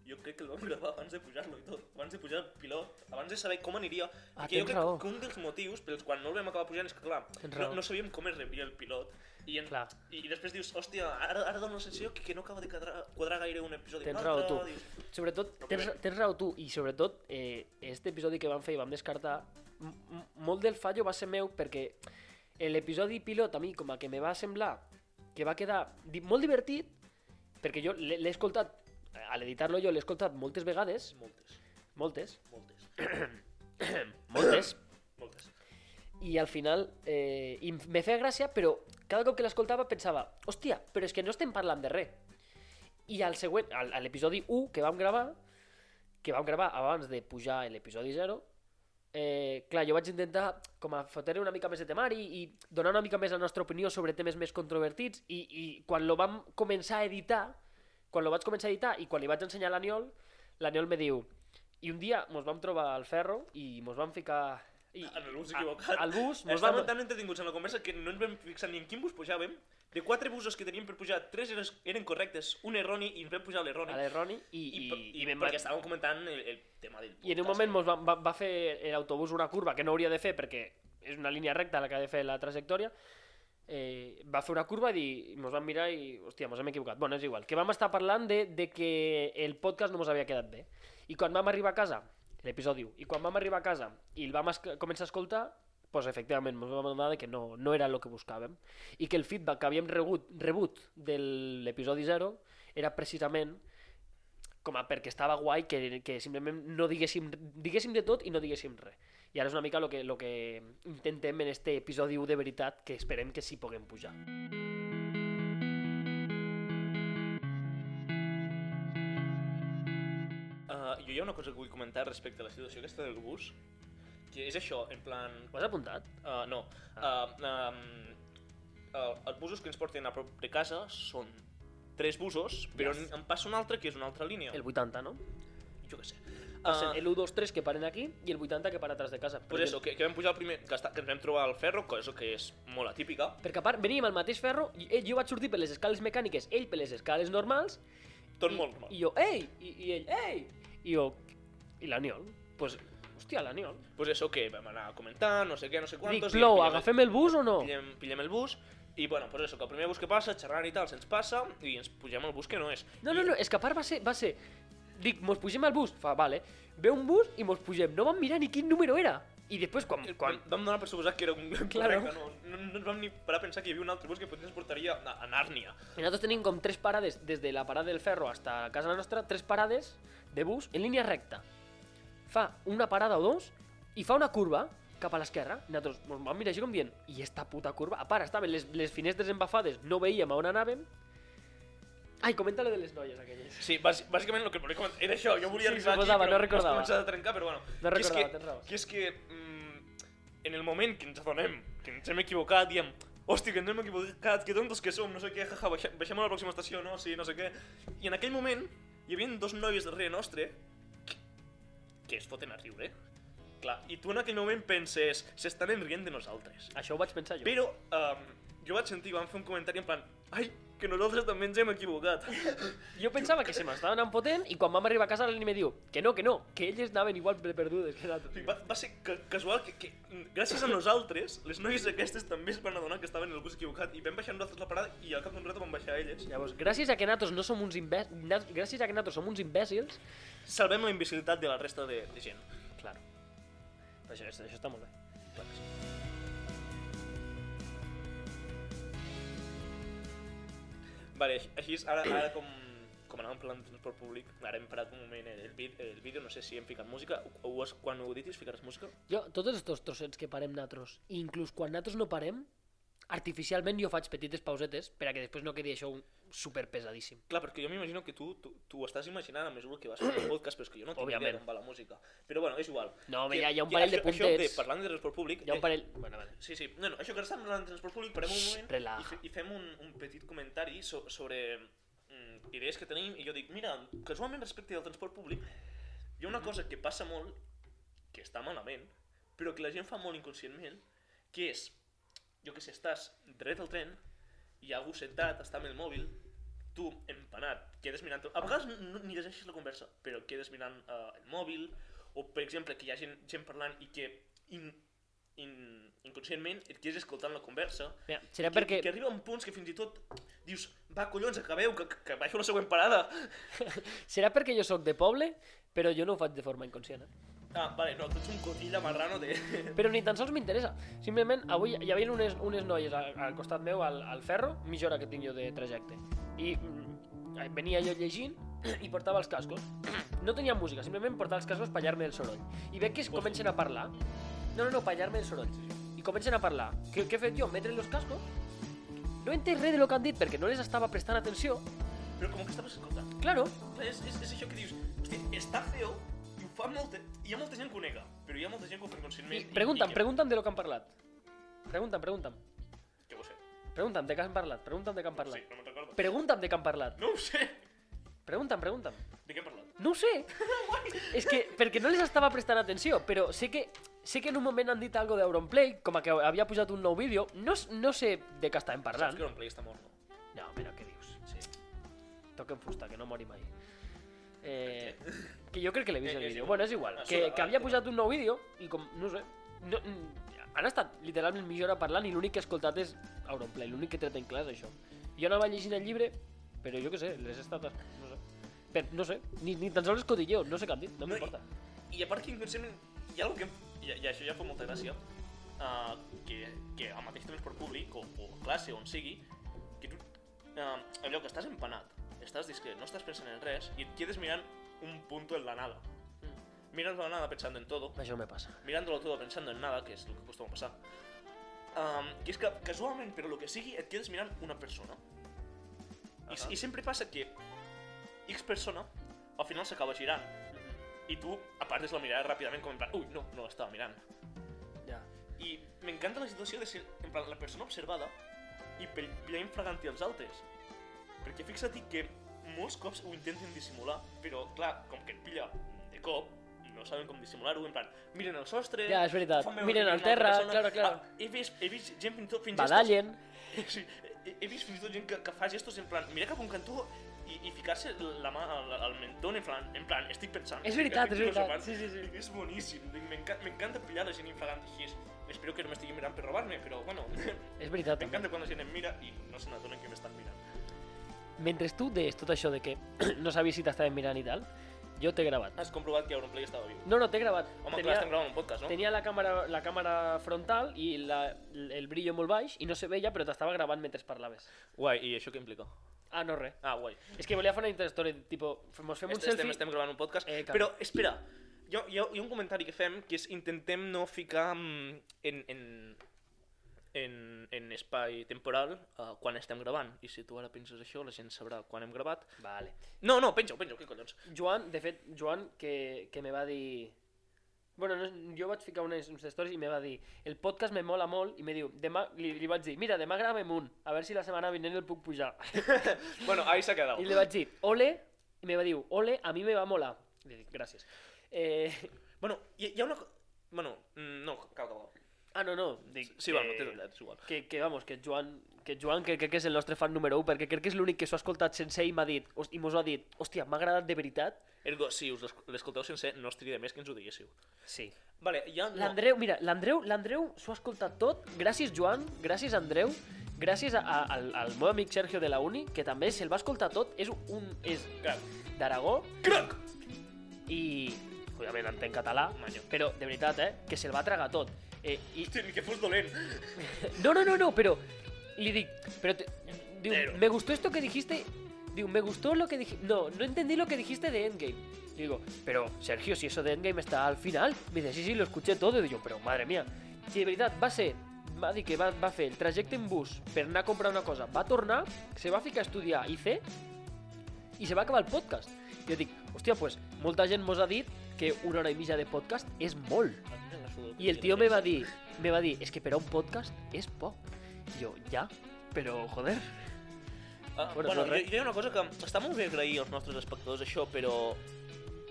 B: Jo crec que el vam gravar abans de pujar-lo i tot. Abans de pujar el pilot, abans de saber com aniria.
A: Ah,
B: I que jo
A: tens
B: crec
A: raó.
B: que un dels motius pels quals no el vam acabar pujant és que, clar,
A: Tens
B: no,
A: raó.
B: no sabíem com es rebia el pilot. I, en,
A: Clar.
B: i, i després dius, hòstia, ara, ara dona la sensació que, que no acaba de quadrar, quadrar gaire un episodi. amb
A: Tens raó
B: l'altre",
A: tu.
B: dius,
A: Sobretot,
B: No,
A: tens,
B: primer.
A: tens raó tu, i sobretot, eh, este episodi que vam fer i vam descartar, m- m- molt del fallo va ser meu perquè l'episodi pilot a mi com a que me va semblar que va quedar di molt divertit, perquè jo l'he l'he escoltat, eh, a l'editar-lo jo l'he escoltat moltes vegades,
B: Moltes,
A: moltes,
B: moltes,
A: moltes,
B: moltes.
A: i al final eh, i me feia gràcia, però cada cop que l'escoltava pensava, hòstia, però és que no estem parlant de res. I al següent, al- a l'episodi 1 que vam gravar, que vam gravar abans de pujar a l'episodi 0, eh, clar, jo vaig intentar com a fotre una mica més de temari i donar una mica més la nostra opinió sobre temes més controvertits i, i quan lo vam començar a editar, quan lo vaig començar a editar i quan li vaig ensenyar a l'Aniol, l'Aniol me diu i un dia mos vam trobar al ferro i mos vam ficar... I,
B: En el bus equivocat.
A: Al bus, mos vam...
B: Estàvem tan entretinguts en la conversa que no ens vam fixar ni en quin bus pujàvem. De quatre busos que teníem per pujar, tres eren, eren correctes, un erroni i ens vam pujar a l'erroni.
A: A l'Erroni i,
B: I,
A: i,
B: per- i,
A: me'n
B: perquè
A: vaig-
B: estàvem comentant el, el tema del
A: I en un moment mos va, va, va fer l'autobús una curva que no hauria de fer perquè és una línia recta la que ha de fer la trajectòria. Eh, va fer una curva i dir- mos van mirar i, hòstia, mos hem equivocat. Bueno, és igual. Que vam estar parlant de, de que el podcast no mos havia quedat bé. I quan vam arribar a casa, l'episodi 1, i quan vam arribar a casa i el vam esc- començar a escoltar, pues, efectivament, ens vam adonar de que no, no era el que buscàvem i que el feedback que havíem rebut, rebut de l'episodi 0 era precisament com a perquè estava guai que, que simplement no diguéssim, diguéssim de tot i no diguéssim res. I ara és una mica el que, lo que intentem en este episodi 1 de veritat, que esperem que sí puguem pujar.
B: Uh, jo hi ha una cosa que vull comentar respecte a la situació aquesta del bus, que és això, en plan...
A: Ho has apuntat?
B: Uh, no.
A: Ah.
B: Uh, um, uh, els busos que ens porten a prop de casa són tres busos, però yes. en passa un altre que és una altra línia.
A: El 80, no?
B: Jo què sé.
A: Passen
B: Uh,
A: el 1, 2, 3 que paren aquí i el 80 que para atrás de casa.
B: pues eso, que, que vam pujar el primer, que, està, que ens vam trobar al ferro, cosa que és molt atípica.
A: Perquè a part veníem al mateix ferro, i ell, jo vaig sortir per les escales mecàniques, ell per les escales normals,
B: Tot
A: i,
B: molt normal.
A: i jo, ei, i, i ell, ei, i jo, i l'Aniol, pues, hòstia, l'Aniol.
B: Pues eso, que vam anar comentant, no sé què, no sé
A: Dic,
B: quantos... i
A: plou,
B: pillem el-
A: agafem el bus o no?
B: pillem, pillem el bus, i bueno, pues eso, que el primer bus que passa, xerrant i tal, se'ns passa, i ens pugem al bus que no és.
A: No, no, no, és que a part va ser... Va ser dic, mos pugem al bus. Fa, vale. Ve un bus i mos pugem. No vam mirar ni quin número era. I després, quan...
B: I
A: quan...
B: Vam, vam donar per suposat que era un
A: Claro.
B: correcte, no, no, no ens vam ni parar a pensar que hi havia un altre bus que potser ens portaria a, a Nàrnia.
A: I nosaltres tenim com tres parades, des de la parada del ferro hasta casa nostra, tres parades de bus en línia recta. Fa una parada o dos i fa una curva cap a l'esquerra. I Nosaltres mos vam mirar així com dient, i esta puta curva? A part, estaven les, les finestres embafades, no veíem a on anàvem. Ai, comenta lo de les noies aquelles.
B: Sí, bàs, bàsicament el que volia comentar era això, jo volia
A: Sí,
B: arribar
A: suposava, no
B: aquí, però m'has
A: recordava.
B: començat a trencar, però bueno.
A: No
B: que és
A: recordava,
B: que-
A: tens raó.
B: Que és que mm, en el moment que ens adonem, que ens hem equivocat, diem, hòstia, que ens hem equivocat, que tontos que som, no sé què, jaja, baixem, baixem a la pròxima estació, no, sí, no sé què. I en aquell moment hi havia dos noies darrere nostre que- que es foten a riure. Clar, i tu en aquell moment penses, s'estan enrient de nosaltres.
A: Això ho vaig pensar jo.
B: Però um, jo vaig sentir, van fer un comentari en plan, ai, que nosaltres també ens hem equivocat.
A: Jo pensava que se m'estava anant potent i quan vam arribar a casa l'Eleni me diu que no, que no, que elles anaven igual de perdudes que
B: Sí,
A: nosaltres.
B: Va, va ser ca- casual que, que mm, gràcies a nosaltres, les noies aquestes també es van adonar que estaven en el bus equivocat i vam baixar nosaltres la parada i al cap d'un rato van baixar elles.
A: Llavors, gràcies a que nosaltres no som uns imbècils, gràcies a que nosaltres som uns imbècils,
B: Salvem la imbecilitat de la resta de, de gent.
A: claro. Però això, això està molt bé.
B: Vale, així- així és, ara, ara com, com anàvem parlant de transport públic, ara hem parat un moment el, vid, el vídeo, no sé si hem ficat música, o, o has, quan ho editis ficaràs música?
A: Jo, tots aquests trossets que parem nosaltres, i inclús quan nosaltres no parem, artificialment jo faig petites pausetes per a que després no quedi això un super pesadíssim.
B: Clar, perquè jo m'imagino que tu, tu, tu ho estàs imaginant a mesura que vas fent el podcast, però és que jo no tinc idea
A: Òbviament.
B: d'on va la música. Però bueno, és igual.
A: No, home,
B: Que-
A: hi ha- hi ha un
B: que
A: parell de
B: això- Això
A: puntets.
B: de, parlant de transport públic...
A: Hi ha
B: eh,
A: un parell... Bueno, vale.
B: Sí, sí. No, no, això que ara estem parlant de transport públic, parem un
A: Xxt,
B: moment
A: relaja.
B: i, fe, i fem un, un petit comentari so, sobre mm, idees que tenim i jo dic, mira, casualment respecte al transport públic, hi ha una cosa que passa molt, que està malament, però que la gent fa molt inconscientment, que és, jo que sé, estàs dret al tren i hi ha algú sentat, està amb el mòbil, tu empanat, quedes mirant... A vegades no, ni llegeixes la conversa, però quedes mirant eh, el mòbil, o per exemple que hi ha gent, gent parlant i que in, in, inconscientment et quedes escoltant la conversa,
A: Mira, serà
B: que,
A: perquè...
B: que arriba a un punt que fins i tot dius va collons, acabeu, que, que baixo a la següent parada.
A: Serà perquè jo sóc de poble, però jo no ho faig de forma inconscient. Eh?
B: Ah, vale, no, tu ets un cotilla marrano de...
A: Però ni tan sols m'interessa. Simplement, avui hi havia unes, unes noies al, al costat meu, al, al ferro, mitja hora que tinc jo de trajecte. I mm, venia jo llegint i portava els cascos. No tenia música, simplement portava els cascos per allar-me el soroll. I veig que es comencen a parlar. No, no, no, per allar-me el soroll. I comencen a parlar. Què, què he fet jo? Metre els cascos? No he entès res de lo que han dit perquè no les estava prestant atenció
B: però com que estaves escoltant.
A: Claro,
B: És, és, és això que dius, hosti, està feo i ho fa molta... Hi ha molta gent que ho nega, però hi ha molta gent que ho fa
A: I
B: inconscientment.
A: pregunta'm,
B: i que-
A: pregunta'm de lo que han parlat. Pregunta'm, pregunta'm.
B: Que ho sé.
A: Pregunta'm de què han parlat, pregunta'm de què han
B: Sí,
A: parlat.
B: no me'n recordo.
A: Pregunta'm de què han parlat.
B: No ho sé.
A: Pregunta'm, pregunta'm.
B: De què hem parlat?
A: No ho sé. És que perquè no les estava prestant atenció, però sé que sé que en un moment han dit algo d'Auronplay, com a que havia pujat un nou vídeo, no, s- no sé de què estàvem
B: Saps
A: parlant.
B: que Auronplay està mort, no?
A: No, però què dius?
B: Sí.
A: Toquen fusta, que no mori mai. Eh, que jo crec que l'he vist
B: Eh,
A: el
B: és
A: vídeo.
B: igual.
A: Bueno, és igual.
B: Ah,
A: Que,
B: surt,
A: que
B: ah,
A: havia
B: surt.
A: posat un nou vídeo i com, no ho sé, no, mm, han estat literalment mitja hora parlant i l'únic que he escoltat és Auronplay, l'únic que he tret en clar és això. Jo anava llegint el llibre, però jo què sé, les he estat... No sé. Per, no sé, ni, ni tan sols escotilleo, no sé què han dit, no,
B: No, i-
A: m'importa.
B: I a part que inconscientment hi ha algo que... em- I, i això ja fa molta gràcia, uh, que, que al mateix transport públic, o, o a classe, on sigui, que tu... Uh, allò que estàs empanat, estàs discret, no estàs pensant en res, i et quedes mirant un punto en la nada. Miras la nada pensando en todo,
A: Mm. Això no me passa.
B: mirándolo todo pensando en nada, que es lo que costó pasar. Um, que es que casualment, però lo que sigui, et quedes mirant una persona. I,
A: Ahà.
B: I sempre passa que X persona al final s'acaba girant. I tu apartes la mirada ràpidament com en plan, ui, no, no l'estava mirant.
A: Ja.
B: I m'encanta la situació de ser, en plan, la persona observada i pel- pillant fraganti els altres. Perquè fixa't que molts cops ho intenten dissimular, però clar, com que et pilla de cop, no saben com dissimular-ho, en plan, miren el sostre...
A: Ja, és veritat.
B: fan veure
A: Miren
B: que hi ha
A: al
B: una
A: terra,
B: persona".
A: claro, claro.
B: Ah, he, vist, he vist gent fins i tot fins
A: Badallen.
B: gestos... Sí, he, he vist fins i tot gent que, que fa gestos en plan, mira cap a un cantó i, i ficar-se la mà al, al mentón en plan, en plan, estic pensant.
A: És veritat, és
B: estic
A: veritat.
B: filosofant".
A: Sí, sí, sí.
B: És boníssim, dic, m'enca- m'encanta pillar la gent infragant així. Espero que no m'estiguin mirant per robar-me, però bueno,
A: És veritat. també.
B: m'encanta quan la gent em mira i no se n'adonen que m'estan mirant.
A: Mentre tu deies tot això de que no sabies si t'estaven mirant i tal, jo t'he gravat.
B: Has comprovat que Auronplay estava viu.
A: No, no, t'he gravat.
B: Home, clar, estem gravant un podcast, no?
A: Tenia la càmera, la càmera frontal i la, el brillo molt baix i no se veia, però t'estava gravant mentre parlaves.
B: Guai, i això què implica?
A: Ah, no res.
B: Ah, guai.
A: És que volia fer una interstory, tipo, mos fem un
B: Este, estem,
A: selfie...
B: estem gravant un podcast.
A: Eh, clar.
B: però, espera, hi ha, hi, ha, hi ha un comentari que fem que és intentem no ficar mm, en, en, en, en espai temporal uh, quan estem gravant. I si tu ara penses això, la gent sabrà quan hem gravat.
A: Vale.
B: No, no, penja-ho, penja-ho, què collons.
A: Joan, de fet, Joan, que, que me va dir... Bueno, no, jo vaig ficar unes, unes stories i me va dir el podcast me mola molt i me diu, demà, li, li vaig dir, mira, demà gravem un, a veure si la setmana vinent el puc pujar.
B: Bueno, ahí s'ha quedat.
A: I li vaig dir, ole, i me va dir, ole, a mi me va molar. Li dic, gràcies. Eh...
B: Bueno, hi, hi ha una... co- Bueno, mm, no, cal, cal, cal.
A: Ah, no, no, dic...
B: Sí, va, no té tallat, és igual.
A: que, que vamos, que Joan, que Joan que crec que és el nostre fan número 1, perquè crec que és l'únic que s'ho ha escoltat sense i m'ha dit, host- i mos ho ha dit, hòstia, m'ha agradat de veritat?
B: Ergo, si us l'esc- l'escolteu sencer, no us trida més que ens ho diguéssiu.
A: Sí.
B: Vale, ja... No.
A: L'Andreu, mira, l'Andreu l'Andreu s'ho ha escoltat tot, gràcies Joan, gràcies Andreu, gràcies a, a, al, al meu amic Sergio de la Uni, que també se'l va escoltar tot, és un... és
B: Crac.
A: d'Aragó
B: Crac!
A: i... Òbviament entén català,
B: Manyo.
A: però de veritat, eh, que se'l va tragar tot. Eh, i,
B: Hosti, ni que fos dolent.
A: No, no, no, no, pero. Le di. Pero. te- digo,
B: Pero.
A: me gustó esto que dijiste. Digo, me gustó lo que dijiste. No, no entendí lo que dijiste de Endgame. Y digo, pero Sergio, si eso de Endgame está al final. Me dice, sí, sí, lo escuché todo. Y yo, pero madre mía. Si de veritat va ser va dir que va, va fer el trajecte en bus per anar a comprar una cosa, va tornar, se va ficar a estudiar IC i se va acabar el podcast. I jo dic, hòstia, pues, molta gent mos ha dit que una hora i mitja de podcast és molt. Y el tío me va a decir, me va a decir, es que pero un podcast es pop. Y yo, ya, pero joder.
B: Ah,
A: Bueno,
B: bueno, bueno
A: no,
B: jo,
A: res.
B: jo hi ha una cosa que està molt bé agrair als nostres espectadors això, però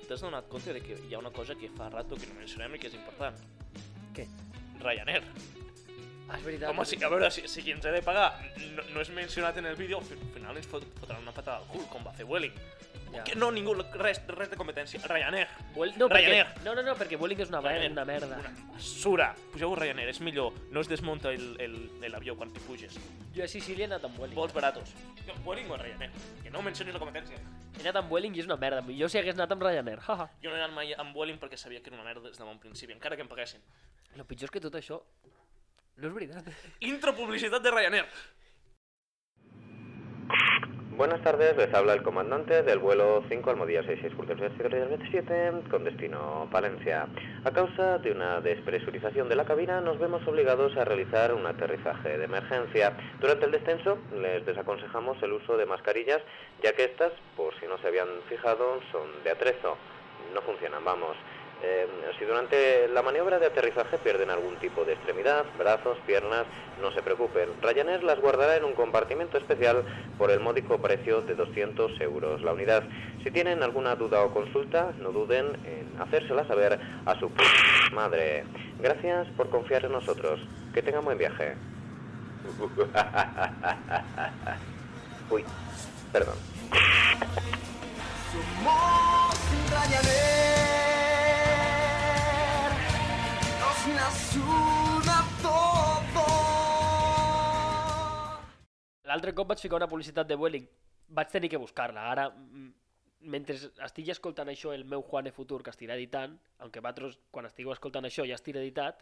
B: t'has donat compte de que hi ha una cosa que fa rato que no mencionem i que és important.
A: Què?
B: Ryanair.
A: Ah, és veritat.
B: Home, sí, a veure, si, si qui ens ha de pagar no, no és mencionat en el vídeo, al fi- al final ens fot, fotran una patada al cul, com va fer Welling.
A: Ja.
B: Que no, ningú, res, res de competència. Ryanair.
A: Vuel- no, perquè,
B: Ryanair.
A: no, no, no, perquè Vueling és una, Ryanair,
B: Ryanair.
A: una merda.
B: Una basura. Pugeu a Ryanair, és millor. No es desmunta el- el- el avió quan t'hi puges.
A: Jo a Sicília he anat amb Vueling.
B: Vols baratos. No, Vueling o Ryanair. Que no mencionis la competència.
A: He anat amb Vueling i és una merda. Jo si hagués anat amb Ryanair. Haha.
B: Jo no he anat mai amb Vueling perquè sabia que era una merda des de bon principi, encara que em paguessin.
A: Lo pitjor és que tot això no és veritat.
B: Intro publicitat de Ryanair.
D: Buenas tardes, les habla el comandante del vuelo 5 Almodía 66-27 con destino Palencia. A causa de una despresurización de la cabina, nos vemos obligados a realizar un aterrizaje de emergencia. Durante el descenso, les desaconsejamos el uso de mascarillas, ya que estas, por si no se habían fijado, son de atrezo. No funcionan, vamos. Eh, si durante la maniobra de aterrizaje pierden algún tipo de extremidad, brazos, piernas, no se preocupen. Ryanair las guardará en un compartimento especial por el módico precio de 200 euros la unidad. Si tienen alguna duda o consulta, no duden en hacérsela saber a su p- madre. Gracias por confiar en nosotros. Que tengan buen viaje. Uy, perdón.
C: Somos Ryanair, nos nacional todo.
A: L'altre cop vaig ficar una publicitat de Vueling. Vaig tenir que buscar-la. Ara, mm, mentre estigui escoltant això, el meu Juan de Futur, que estirà editant, aunque vosaltres, quan estigueu escoltant això, ja estirà editat,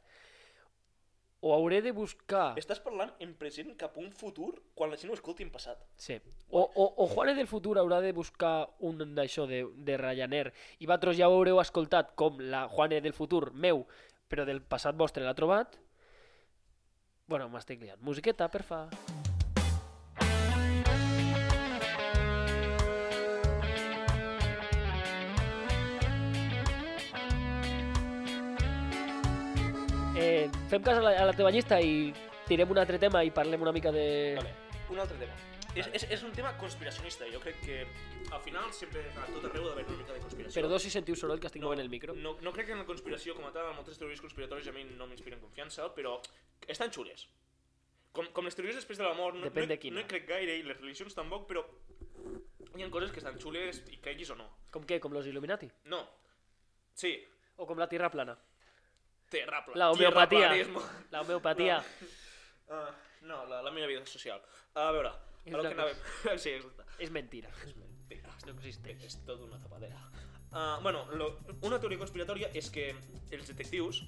A: o hauré de buscar...
B: Estàs parlant en present cap a un futur quan la gent ho escolti en passat.
A: Sí. O, o, o Juanes del futur haurà de buscar un d'això de, de Ryanair i vosaltres ja ho haureu escoltat com la Juanes del futur meu, però del passat vostre l'ha trobat. Bueno, m'estic liant. Musiqueta, per fa. Eh, fem cas a la, a la teva llista i tirem un altre tema i parlem una mica de...
B: Vale, un altre tema. És, és, és un tema conspiracionista. Jo crec que al final sempre a tot arreu ha d'haver una mica de conspiració.
A: Perdó si sentiu soroll que estic movent el micro.
B: No, no crec que en la conspiració com a tal, moltes teories conspiratòries a mi no m'inspiren confiança, però estan xules. Com, com les teories després de la mort, no,
A: Depèn
B: no,
A: de quina.
B: no hi crec gaire, i les religions tampoc, però hi ha coses que estan xules, i creguis o no.
A: Com què? Com los Illuminati?
B: No. Sí,
A: O com la Tierra plana?
B: terra pla.
A: La homeopatía.
B: tierraplanismo.
A: La homeopatía.
B: Ah, no, la, la meva vida social. A veure,
A: És
B: a lo
A: la
B: que
A: cosa.
B: anàvem. Sí, exacte.
A: És mentira.
B: Vinga,
A: No existeix.
B: és tot una tapadera. Uh, bueno, lo, una teoria conspiratòria és que els detectius...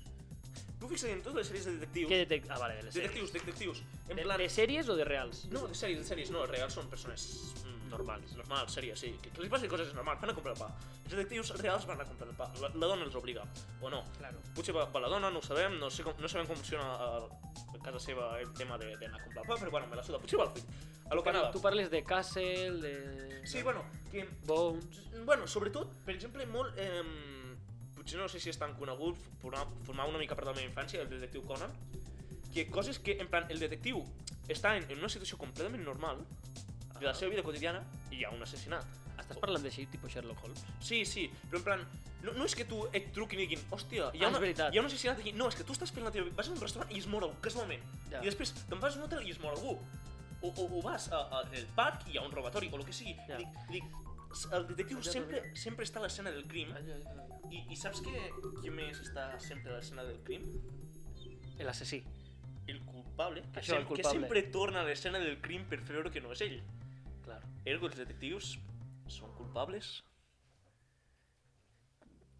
B: Tu fixa't en totes les sèries de detectius...
A: Què detect... Ah, vale, de les sèries.
B: Detectius, detectius. En
A: De,
B: plan...
A: de sèries o de reals?
B: No, de sèries, de sèries, no, els reals són persones mm, normals, normals, sèries, sí. Que, que els passin coses és normal, van a comprar el pa. Els detectius reals van a comprar el pa, la, la dona els obliga, o no.
A: Claro.
B: Potser va, va la dona, no ho sabem, no, sé com, no sabem com funciona a, a casa seva el tema de- d'anar a comprar el pa, però bueno, me la suda, potser va el fill. A lo que
A: Bueno,
B: anava.
A: tu parles de Castle, de...
B: Sí, bueno, que
A: Bones...
B: Bueno, sobretot, per exemple, molt... Eh, potser no sé si és tan conegut, formar, formar una mica part de la meva infància, el detectiu Conan, que coses que, en plan, el detectiu està en, en una situació completament normal de la seva vida quotidiana i hi ha un assassinat.
A: Estàs parlant d'així, tipus Sherlock Holmes?
B: Sí, sí, però en plan, no, no és que tu et truquin i diguin, hòstia, hi
A: Ah, és
B: ha, una,
A: veritat.
B: hi ha un assassinat aquí. No, és que tu estàs fent la teva... Vas a un restaurant i es mor algú, casualment.
A: Ja.
B: I després te'n vas a un hotel i es mor algú. O, o, o vas a- a- al parc i hi ha un robatori, o el que sigui.
A: Ja.
B: I Dic, i dic, s- el detectiu
A: Ah, ja,
B: sempre, sempre està a l'escena del crim.
A: L'assassí.
B: I, I saps que, qui més està sempre a l'escena del crim? El culpable. Que,
A: Això, el
B: que
A: culpable.
B: sempre torna a l'escena del crim per fer veure que no és ell.
A: Clar.
B: Ergo, els detectius són culpables?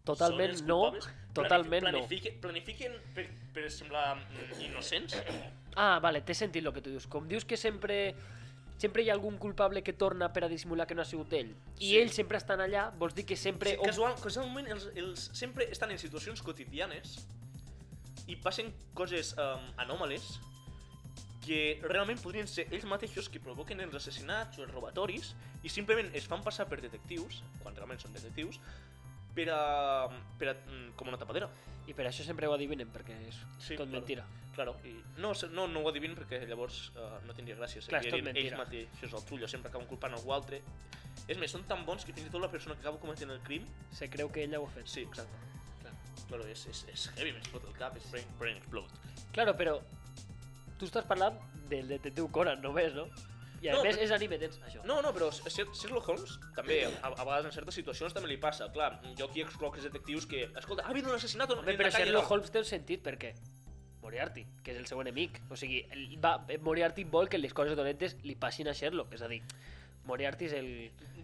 A: Totalment
B: Són els
A: no.
B: culpables?
A: Totalment no.
B: planifiquen, no. Planifiquen per, per semblar mm, innocents?
A: Ah, vale, té sentit el que tu dius. Com dius que sempre sempre hi ha algun culpable que torna per a dissimular que no ha sigut ell. I
B: Sí.
A: ells sempre estan allà, vols dir que sempre...
B: Pre sí, casual, casualment, els, els sempre estan en situacions quotidianes i passen coses um, anòmales que realment podrien ser ells mateixos que provoquen els assassinats o els robatoris i simplement es fan passar per detectius, quan realment són detectius, per a... Per a mm, com una tapadera.
A: I per això sempre ho adivinen, perquè és
B: Sí,
A: tot
B: claro.
A: mentira.
B: Claro, i no, se- no, no ho adivin perquè llavors uh, no tindria gràcia.
A: Clar, és tot
B: Serien ells
A: mentira.
B: mateixos el trullo, sempre acaben culpant algú altre. És més, són tan bons que fins i tot la persona que acaba cometent el crim...
A: Se creu que ella ho ha fet.
B: Sí, exacte.
A: Clar.
B: Claro, és, és, és heavy, m'explota el cap, és brain, brain explode.
A: Claro, però tu estàs parlant del detectiu Conan només, no? I a
B: No,
A: més
B: però-
A: és anime, tens això.
B: No, no, però Sher- Sherlock Holmes també, a, a vegades en certes situacions també li passa. Clar, jo aquí excloc els detectius que... Escolta, ha habido un assassinat en
A: Home,
B: la
A: però
B: calle,
A: Sherlock
B: no?"
A: Holmes té un sentit, perquè Moriarty, que és el seu enemic. O sigui, ell va, Moriarty vol que les coses dolentes li passin a Sherlock, és a dir, Moriarty és el...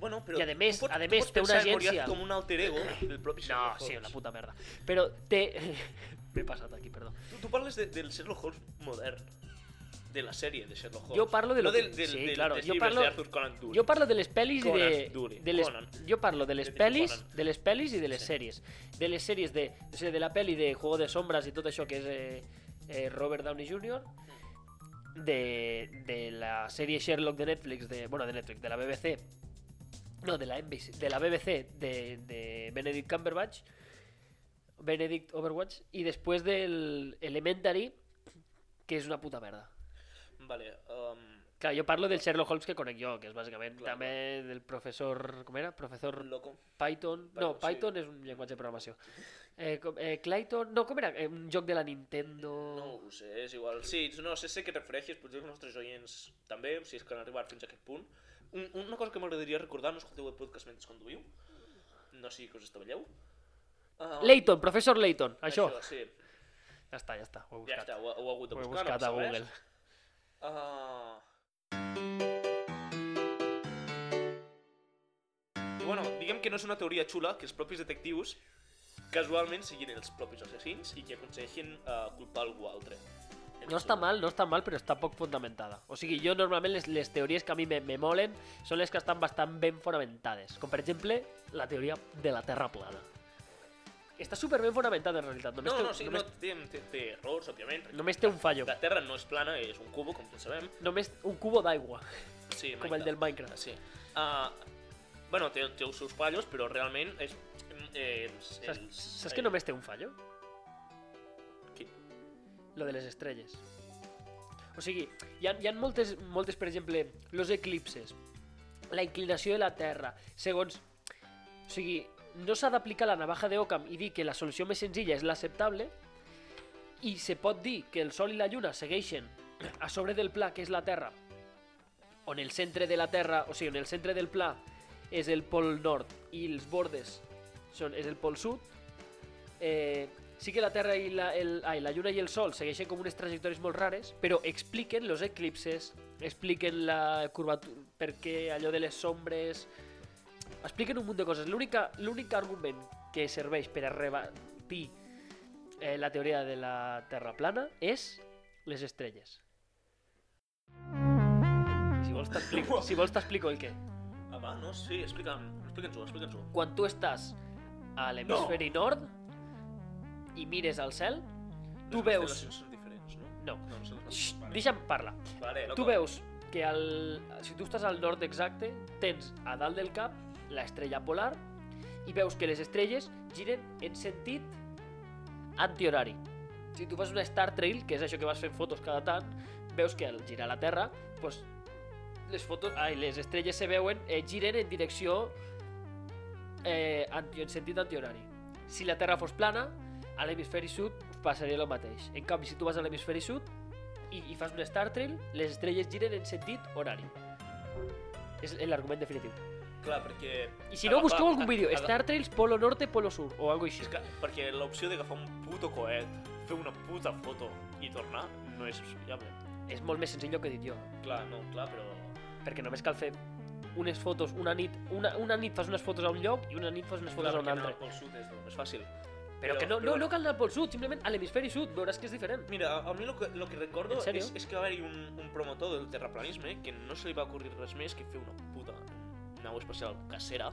B: Bueno,
A: I
B: però
A: a més-
B: tu pots,
A: a
B: tu
A: més
B: pots
A: té una
B: pensar en Moriarty
A: agència.
B: com un alter ego del
A: No,
B: propi Sherlock Holmes.
A: sí, la puta merda. Però té... M'he passat aquí, perdó.
B: Tu, tu parles de, del Sherlock Holmes modern. de la serie de Sherlock Holmes.
A: Yo parlo de lo
B: no del,
A: que-
B: del-
A: sí,
B: del-
A: claro,
B: dels
A: yo
B: llibres
A: parlo-
B: de Arthur Conan Doyle.
A: Jo parlo de les pel·lis i de...
B: Conan, Dure,
A: de les,
B: Conan.
A: jo parlo de les
B: Detective
A: pel·lis,
B: Conan.
A: de les pel·lis i de les
B: Sí.
A: sèries. De les sèries de... O sigui, de la pel·li de Juego de Sombras i tot això que és eh, eh, Robert Downey Jr. De, de la sèrie Sherlock de Netflix, de, bueno, de Netflix, de la BBC. No, de la, NBC, de la BBC, de, de Benedict Cumberbatch. Benedict Overwatch. I després del Elementary, que és una puta merda.
B: Vale, um,
A: Clar, jo parlo del Sherlock Holmes que conec jo, que és bàsicament
B: Clar,
A: també del professor... Com era? Professor
B: loco.
A: Python... No,
B: Python, sí.
A: Python és un llenguatge de programació. Eh, com, eh, Clayton... No, com era? Eh, Un joc de la Nintendo...
B: No ho sé, és igual. Sí, no sé, sé que pues et refereixes, potser els nostres oients també, si és que han arribat fins a aquest punt. Un, una cosa que m'agradaria recordar, no escolteu el podcast mentre conduïu, no sigui que us estavelleu. Ah,
A: Layton, professor Layton, això.
B: Això, sí.
A: Ja està, ja està, ho he
B: Ja
A: buscat.
B: està, ho, ho he hagut de
A: ho he
B: buscar.
A: buscat a
B: no passa res.
A: Google.
B: Ah. I Bueno, diguem que no és una teoria xula que els propis detectius casualment siguin els propis assassins i que aconsegueixin eh, culpar algú altre.
A: No està mal, no està mal, però està poc fonamentada. O sigui, jo normalment les, les teories que a mi me, me molen són les que estan bastant ben fonamentades. Com per exemple, la teoria de la Terra plana. Està super ben fonamentada en realitat. Només
B: No,
A: té,
B: no, sí, no,
A: només,
B: té, té, té errors, òbviament. perquè
A: només té un fallo.
B: La Terra no és plana, és un cubo, com tots sabem.
A: Només un cubo d'aigua,
B: Sí,
A: com el del Minecraft.
B: Sí. Ah, bueno, té, té els seus fallos, però realment és... Eh, els,
A: Saps,
B: els-
A: saps que només té un fallo?
B: Qui?
A: Lo de les estrelles. O sigui, hi ha, hi ha moltes, moltes, per exemple, los eclipses, la inclinació de la Terra, segons... O sigui, no s'ha d'aplicar la navaja de Occam i dir que la solució més senzilla és l'acceptable i se pot dir que el Sol i la Lluna segueixen a sobre del pla, que és la Terra, on el centre de la Terra, o sigui, on el centre del pla és el pol nord i els bordes són, és el pol sud, eh, sí que la Terra i la, el, ai, la Lluna i el Sol segueixen com unes trajectòries molt rares, però expliquen els eclipses, expliquen la curvatura, perquè allò de les sombres... Expliquen un munt de coses. L'única- L'únic argument que serveix per a rebatir eh, la teoria de la Terra plana és les estrelles. Si vols t'explico si vols t'explico el què.
B: Ah, va, no, sí, explica'm, explica'ns-ho, explica'ns-ho.
A: quan tu estàs a l'hemisferi no. nord i mires al cel, tu
B: Les
A: veus...
B: constel·lacions són diferents, no?
A: No,
B: No, no són les
A: Xxt,
B: mateixes.
A: deixa'm parlar.
B: Vale,
A: Tu veus que el... si tu estàs al nord exacte, tens a dalt del cap l'estrella polar i veus que les estrelles giren en sentit antihorari. Si tu fas una Star Trail, que és això que vas fent fotos cada tant, veus que al girar la Terra, pues, les, fotos, ai, les estrelles se veuen, eh, giren en direcció eh, anti, en sentit antihorari. Si la Terra fos plana, a l'hemisferi sud passaria el mateix. En canvi, si tu vas a l'hemisferi sud i, i fas un Star Trail, les estrelles giren en sentit horari. És l'argument definitiu.
B: Clar, perquè...
A: I si no, busqueu algun vídeo.
B: Està...
A: Star Trails Polo Norte, Polo Sur, o algo així.
B: És que, perquè l'opció d'agafar un puto coet, fer una puta foto i tornar no és viable.
A: És molt més senzill el que he dit jo.
B: Clar, no, clar, però...
A: Perquè només cal fer unes fotos, una nit, una, una nit fas unes fotos a un lloc i una nit fas unes fotos
B: Clar,
A: a un
B: perquè anar
A: altre.
B: al Pol Sud és el més fàcil.
A: Però que no, no, no cal anar pel sud, simplement a l'hemisferi sud, veuràs que és diferent.
B: Mira, a, a mi lo que, lo que recordo
A: ¿En serio?
B: és, és que va haver-hi un, un promotor del terraplanisme que no se li va ocórrer res més que fer una puta nau espacial casera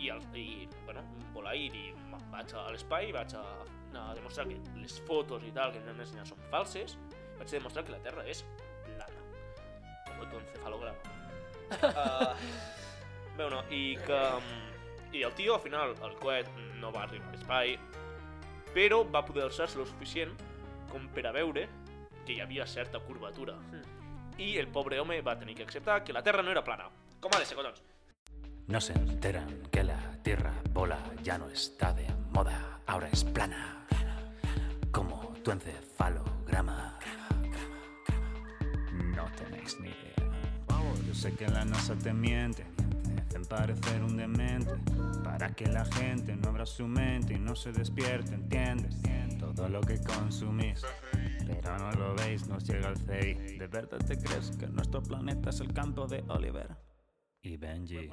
B: i, al, i bueno, volar i dir, "Va- vaig a l'espai, vaig a, a demostrar que les fotos i tal que ens han ensenyat són falses, vaig a demostrar que la Terra és plana. Com un encefalograma. uh, bueno, i que... mm, I el tio, al final, el coet no va arribar a l'espai, però va poder alçar-se lo suficient com per a veure que hi havia certa curvatura.
A: Hmm.
B: I el pobre home va tenir que acceptar que la Terra no era plana. Com ha de ser, collons?
E: No se enteran que la tierra bola ya no está de moda, ahora es plana, como tu encefalograma. No tenéis ni idea. Yo sé que la NASA te miente, te hacen parecer un demente, para que la gente no abra su mente y no se despierte, ¿entiendes? Todo lo que consumís, pero no lo veis, nos llega el CI. ¿De verdad te crees que nuestro planeta es el campo de Oliver? Y Benji.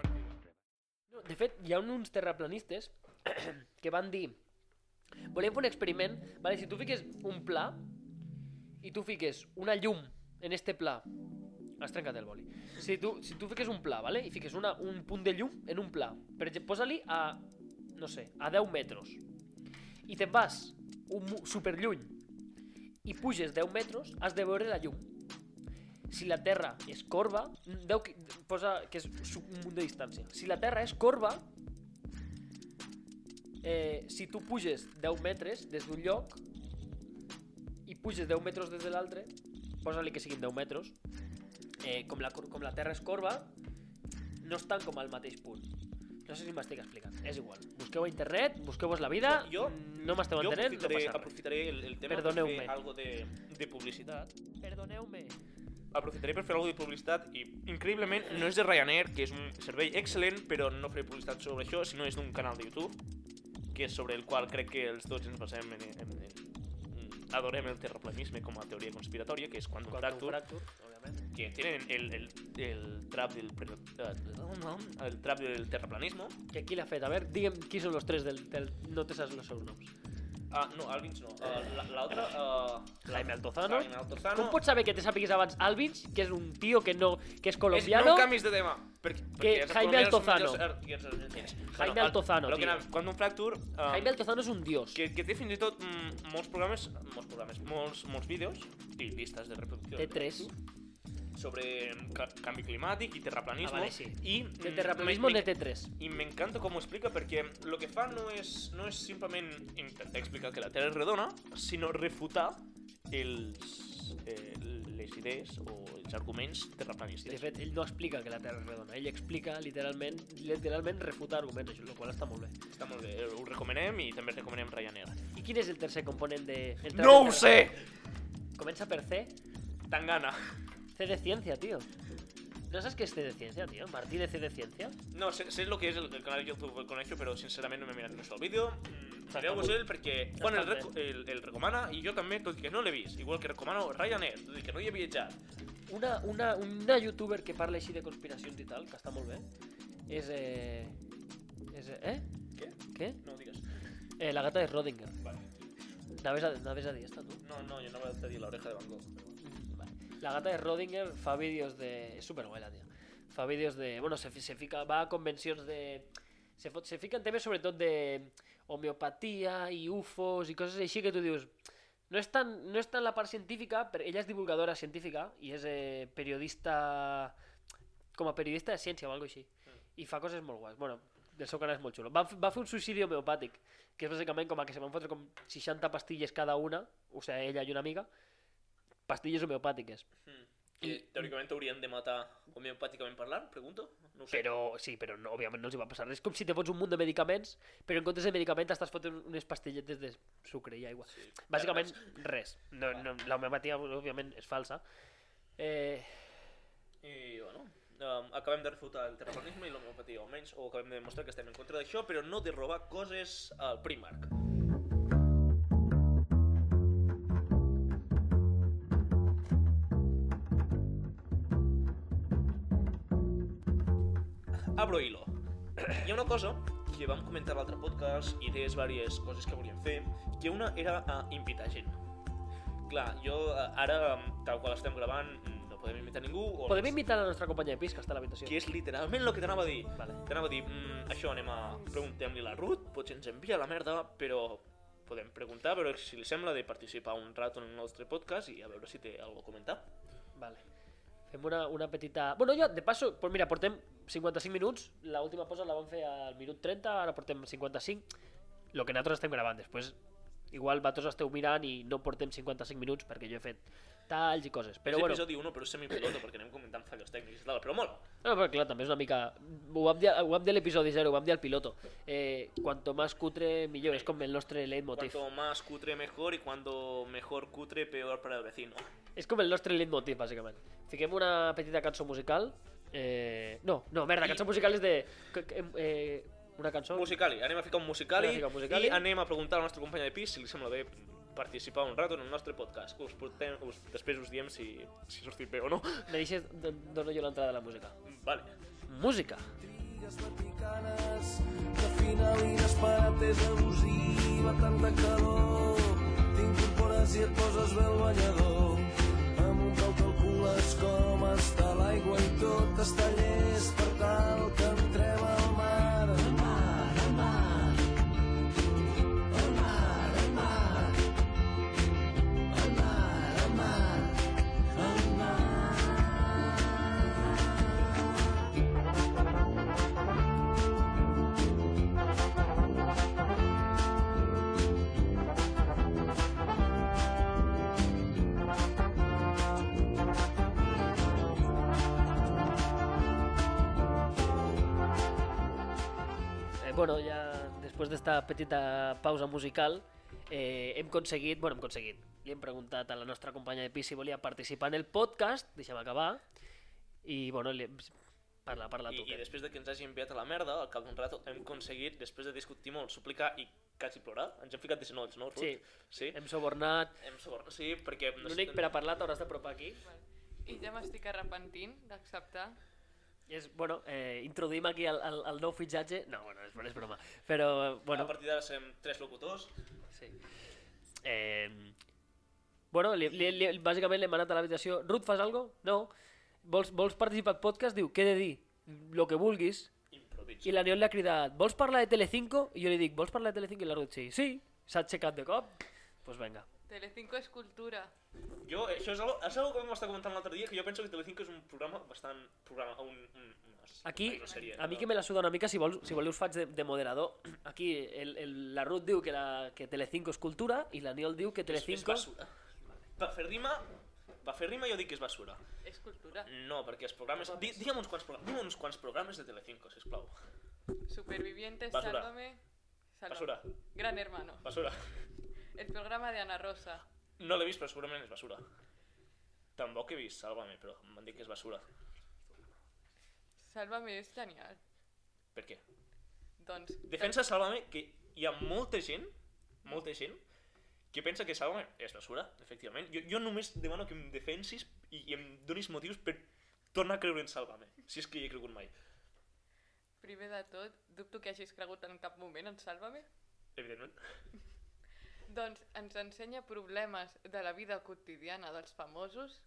A: No, De fet, hi ha uns terraplanistes que van dir volem fer un experiment, vale, si tu fiques un pla i tu fiques una llum en este pla, has trencat el boli. Si tu, si tu fiques un pla, vale? i fiques una, un punt de llum en un pla, per exemple, posa-li a, no sé, a 10 metres, i te'n vas un, mu- superlluny i puges 10 metres, has de veure la llum. Si la Terra és corba, 10, qui- posa que és su- un munt de distància. Si la Terra és corba, eh, si tu puges 10 metres des d'un lloc i puges 10 metres des de l'altre, posa-li que siguin 10 metres, eh, com, la, cor- com la Terra és corba, no estan com al mateix punt. No sé si m'estic explicant, és igual. Busqueu a internet, busqueu-vos la vida,
B: Jo-
A: Mm, no m'esteu
B: Jo
A: entenent, no
B: aprofitaré,
A: passa res.
B: aprofitaré el, el tema
A: Perdoneu-me.
B: per fer algo de, de publicitat.
A: Perdoneu-me.
B: Aprofitaré per fer algo de publicitat i, increïblement, no és de Ryanair, que és un servei excel·lent, però no faré publicitat sobre això, sinó és d'un canal de YouTube, que és sobre el qual crec que els tots ens basem en... en, en mm, adorem el terraplanisme com a teoria conspiratòria, que és quan un fractur,
A: Fractur, obviamente.
B: que tienen el, el, el trap del pre- eh, el trap del terraplanismo.
A: Que qui l'ha fet? A veure, digue'm qui són els tres del... del... No te saps els seus noms.
B: Ah, no, Alvins no. Eh, la- L'altra... eh,
A: Jaime Altozano.
B: Jaime Altozano.
A: Com pots saber que te sàpigues abans Alvins, que és un tio que no... que és
B: És,
A: colombiano?
B: no canvis de tema. Perquè, perquè
A: Jaime
B: els colombianos són
A: Altozano.
B: millors ar- guions argentins.
A: Jaime
B: al-
A: Altozano,
B: lo que
A: tio.
B: anava, Quan un fractur... eh,
A: Jaime Altozano és un dios.
B: que, que té fins i tot mm, molts programes, molts programes, molts, molts vídeos i llistes de reproducció
A: Té tres.
B: Mm, sobre ca canvi climàtic i terraplanisme.
A: Ah, vale, sí.
B: I,
A: De
B: mm,
A: terraplanismo
B: me-
A: de T3.
B: i m'encanta com ho explica perquè el que fa no és, no és simplement intentar explicar que la Terra és redona, sinó refutar els, eh, les idees o els arguments
A: De
B: terraplanistes.
A: fet, ell no explica que la Terra és redona, ell explica literalment, literalment refuta arguments, això, el qual està molt bé.
B: Està molt bé, eh, ho recomanem i també recomanem Ryanair.
A: I quin és el tercer component de... entrar
B: No
A: en
B: ho
A: Terra?
B: sé!
A: Comença per C.
B: Tan gana.
A: C de ciència, tio. No saps què és C de ciència, tio? Martí de C de ciència?
B: No, sé, sé lo que és el, el canal de YouTube, el coneixo, però sincerament no m'he mirat més el vídeo. Mm,
A: Està
B: Mireu-vos
A: molt-
B: ell perquè Juan el,
A: bé.
B: reco- el, el recomana i jo també, tot i que no l'he vist. Igual que recomano Ryanair, tot i que no hi he viatjat.
A: una, una, una youtuber que parla així de conspiracions i tal, que està molt bé, és... Eh... És, eh, eh?
B: Què?
A: Què?
B: No ho digues.
A: Eh, la gata de Rodinger.
B: Vale.
A: Anaves a, anaves a dir esta, tu?
B: No, no, jo no vaig dir l'oreja de Van Gogh.
A: Mm, Vale. La gata de Rodinger fa vídeos de... És superguai, la tia. Fa vídeos de... Bueno, se, fi- se fica, va a convencions de... Se, fot, se fica en temes sobretot de homeopatia i UFOs i coses així que tu dius... No és tant, no és tant la part científica, però ella és divulgadora científica i és eh, periodista... com a periodista de ciència o alguna així. I fa coses molt guais. Bueno, del seu canal és molt xulo. Va, f- va fer un suïcidi homeopàtic, que és bàsicament com a que se van fotre com 60 pastilles cada una, o sigui, ella i una amiga, pastilles homeopàtiques.
B: Que
A: I-
B: teòricament haurien de matar homeopàticament parlant, pregunto? No ho sé.
A: Però sí, però no, òbviament no els hi va passar res. És com si te fots un munt de medicaments, però en comptes de medicaments t'estàs fotent unes pastilletes de sucre i aigua. Sí, Bàsicament res. No, no, la homeopatia, òbviament, és falsa. Eh,
B: I, bueno, um, acabem de refutar el terraplanisme i l'homeopatia, almenys, o acabem de demostrar que estem en contra d'això, però no de robar coses al Primark. Abro hilo. Hi ha una cosa que vam comentar a l'altre podcast, idees, diverses coses que volíem fer, que una era eh, invitar gent. Clar, jo eh, ara, tal qual estem gravant, no podem invitar ningú. O
A: podem invitar la nostra companya de pis, que està a l'habitació.
B: que és literalment el que t'anava a dir.
A: Vale.
B: T'anava a dir, mm, això anem a... Preguntem-li a la Ruth, potser ens envia la merda, però podem preguntar, però si li sembla de participar un rato en el nostre podcast i a veure si té alguna cosa a comentar.
A: Vale. Fem una, una petita... Bueno, jo, de passo, pues mira, portem 55 minuts, la última posa la vam fer al minut 30, ara portem 55, lo que nosaltres estem gravant. Després, igual vosaltres esteu mirant i no portem 55 minuts perquè jo he fet talls i coses. Però
B: és
A: bueno,
B: episodi 1, però és semipilota, perquè anem comentant fallos tècnics i tal, però mola.
A: no, però clar, també és una mica... Ho vam dir, ho vam dir a l'episodi 0, ho vam dir al piloto. Eh, cuanto más cutre, millor. És com el nostre leitmotiv.
B: Cuanto más cutre, mejor, y cuando mejor cutre, peor para el vecino.
A: És com el nostre leitmotiv, bàsicament. Fiquem una petita cançó musical. Eh... No, no, merda, cançó musical és de... que- que- Eh... Una cançó...
B: Musicali, anem a ficar un musicali,
A: Anem a ficar un musicali.
B: i anem a preguntar a la nostra companya de pis si li sembla bé participar un rato en el nostre podcast. Us portem, us, després us diem si, si ha sortit bé o no.
A: Me deixes... do- Dono jo l'entrada de la música.
B: Vale.
A: Música!
C: Figues vaticanes, de final inesperat és abusiva, tanta calor. T'incorpores i et poses bé el banyador, amb un cau calcul
A: Eh, bueno, ja després d'esta petita pausa musical eh, hem aconseguit, bueno, hem aconseguit, li hem preguntat a la nostra companya de pis si volia participar en el podcast, deixa'm acabar, i bueno, li... parla, parla
B: I,
A: tu.
B: I
A: que-
B: després de que ens hagi enviat a la merda, al cap d'un rato hem aconseguit, després de discutir molt, suplicar i quasi plorar, ens hem ficat de genolls, no, Ruth?
A: Sí.
B: Sí.
A: Hem sobornat,
B: Hem sobor... Sí, perquè... no sé-
A: l'únic per a parlar t'hauràs d'apropar aquí.
F: I ja m'estic arrepentint d'acceptar.
A: És, bueno, eh, introduïm aquí el, el, el nou fitxatge, no, bueno, és, és broma, però bueno,
B: A partir d'ara serem tres locutors.
A: Sí. Eh, bueno, li, li, li, bàsicament l'hem anat a l'habitació. Ruth, fas algo? No. Vols, vols participar al podcast? Diu, què he de dir? Lo que vulguis.
B: Improviso.
A: I la Neon li ha cridat, vols parlar de Telecinco? I jo li dic, vols parlar de Telecinco? I la Ruth, sí. Sí, s'ha aixecat de cop. Doncs pues vinga.
F: Telecinco és cultura.
B: Jo, eh, això és algo, és algo que vam estar comentant l'altre dia, que jo penso que Telecinco és un programa bastant... Programa, un, un, un,
A: Aquí,
B: una sèrie,
A: a mi
B: no?
A: que me la suda una mica, si, vols, si voleu us faig de, de moderador. Aquí el, el, la Ruth diu que, la, que Telecinco és cultura i la Neon diu que
B: És- És
A: Telecinco...
B: basura. Va fer rima... Va fer rima i jo dic que és basura.
F: És cultura.
B: No, perquè els programes... Di, digue'm, uns quants programes, digue'm uns quants programes de Telecinco, sisplau.
F: Supervivientes,
B: Basura.
F: Sálvame. Sálvame.
B: Basura.
F: Gran Hermano.
B: Basura.
F: El programa de Ana Rosa.
B: No l'he vist, però segurament és basura. Tampoc he vist Sálvame, però m'han dit que és basura.
F: Sálvame és genial.
B: Per què?
F: Doncs...
B: Defensa Sálvame que hi ha molta gent, molta gent, que pensa que Sálvame és basura, efectivament. Jo, jo només demano que em defensis i, i em donis motius per tornar a creure en Sálvame, si és que hi he cregut mai.
F: Primer de tot, dubto que hagis cregut en cap moment en Sálvame.
B: Evidentment.
F: Doncs ens ensenya problemes de la vida quotidiana dels famosos,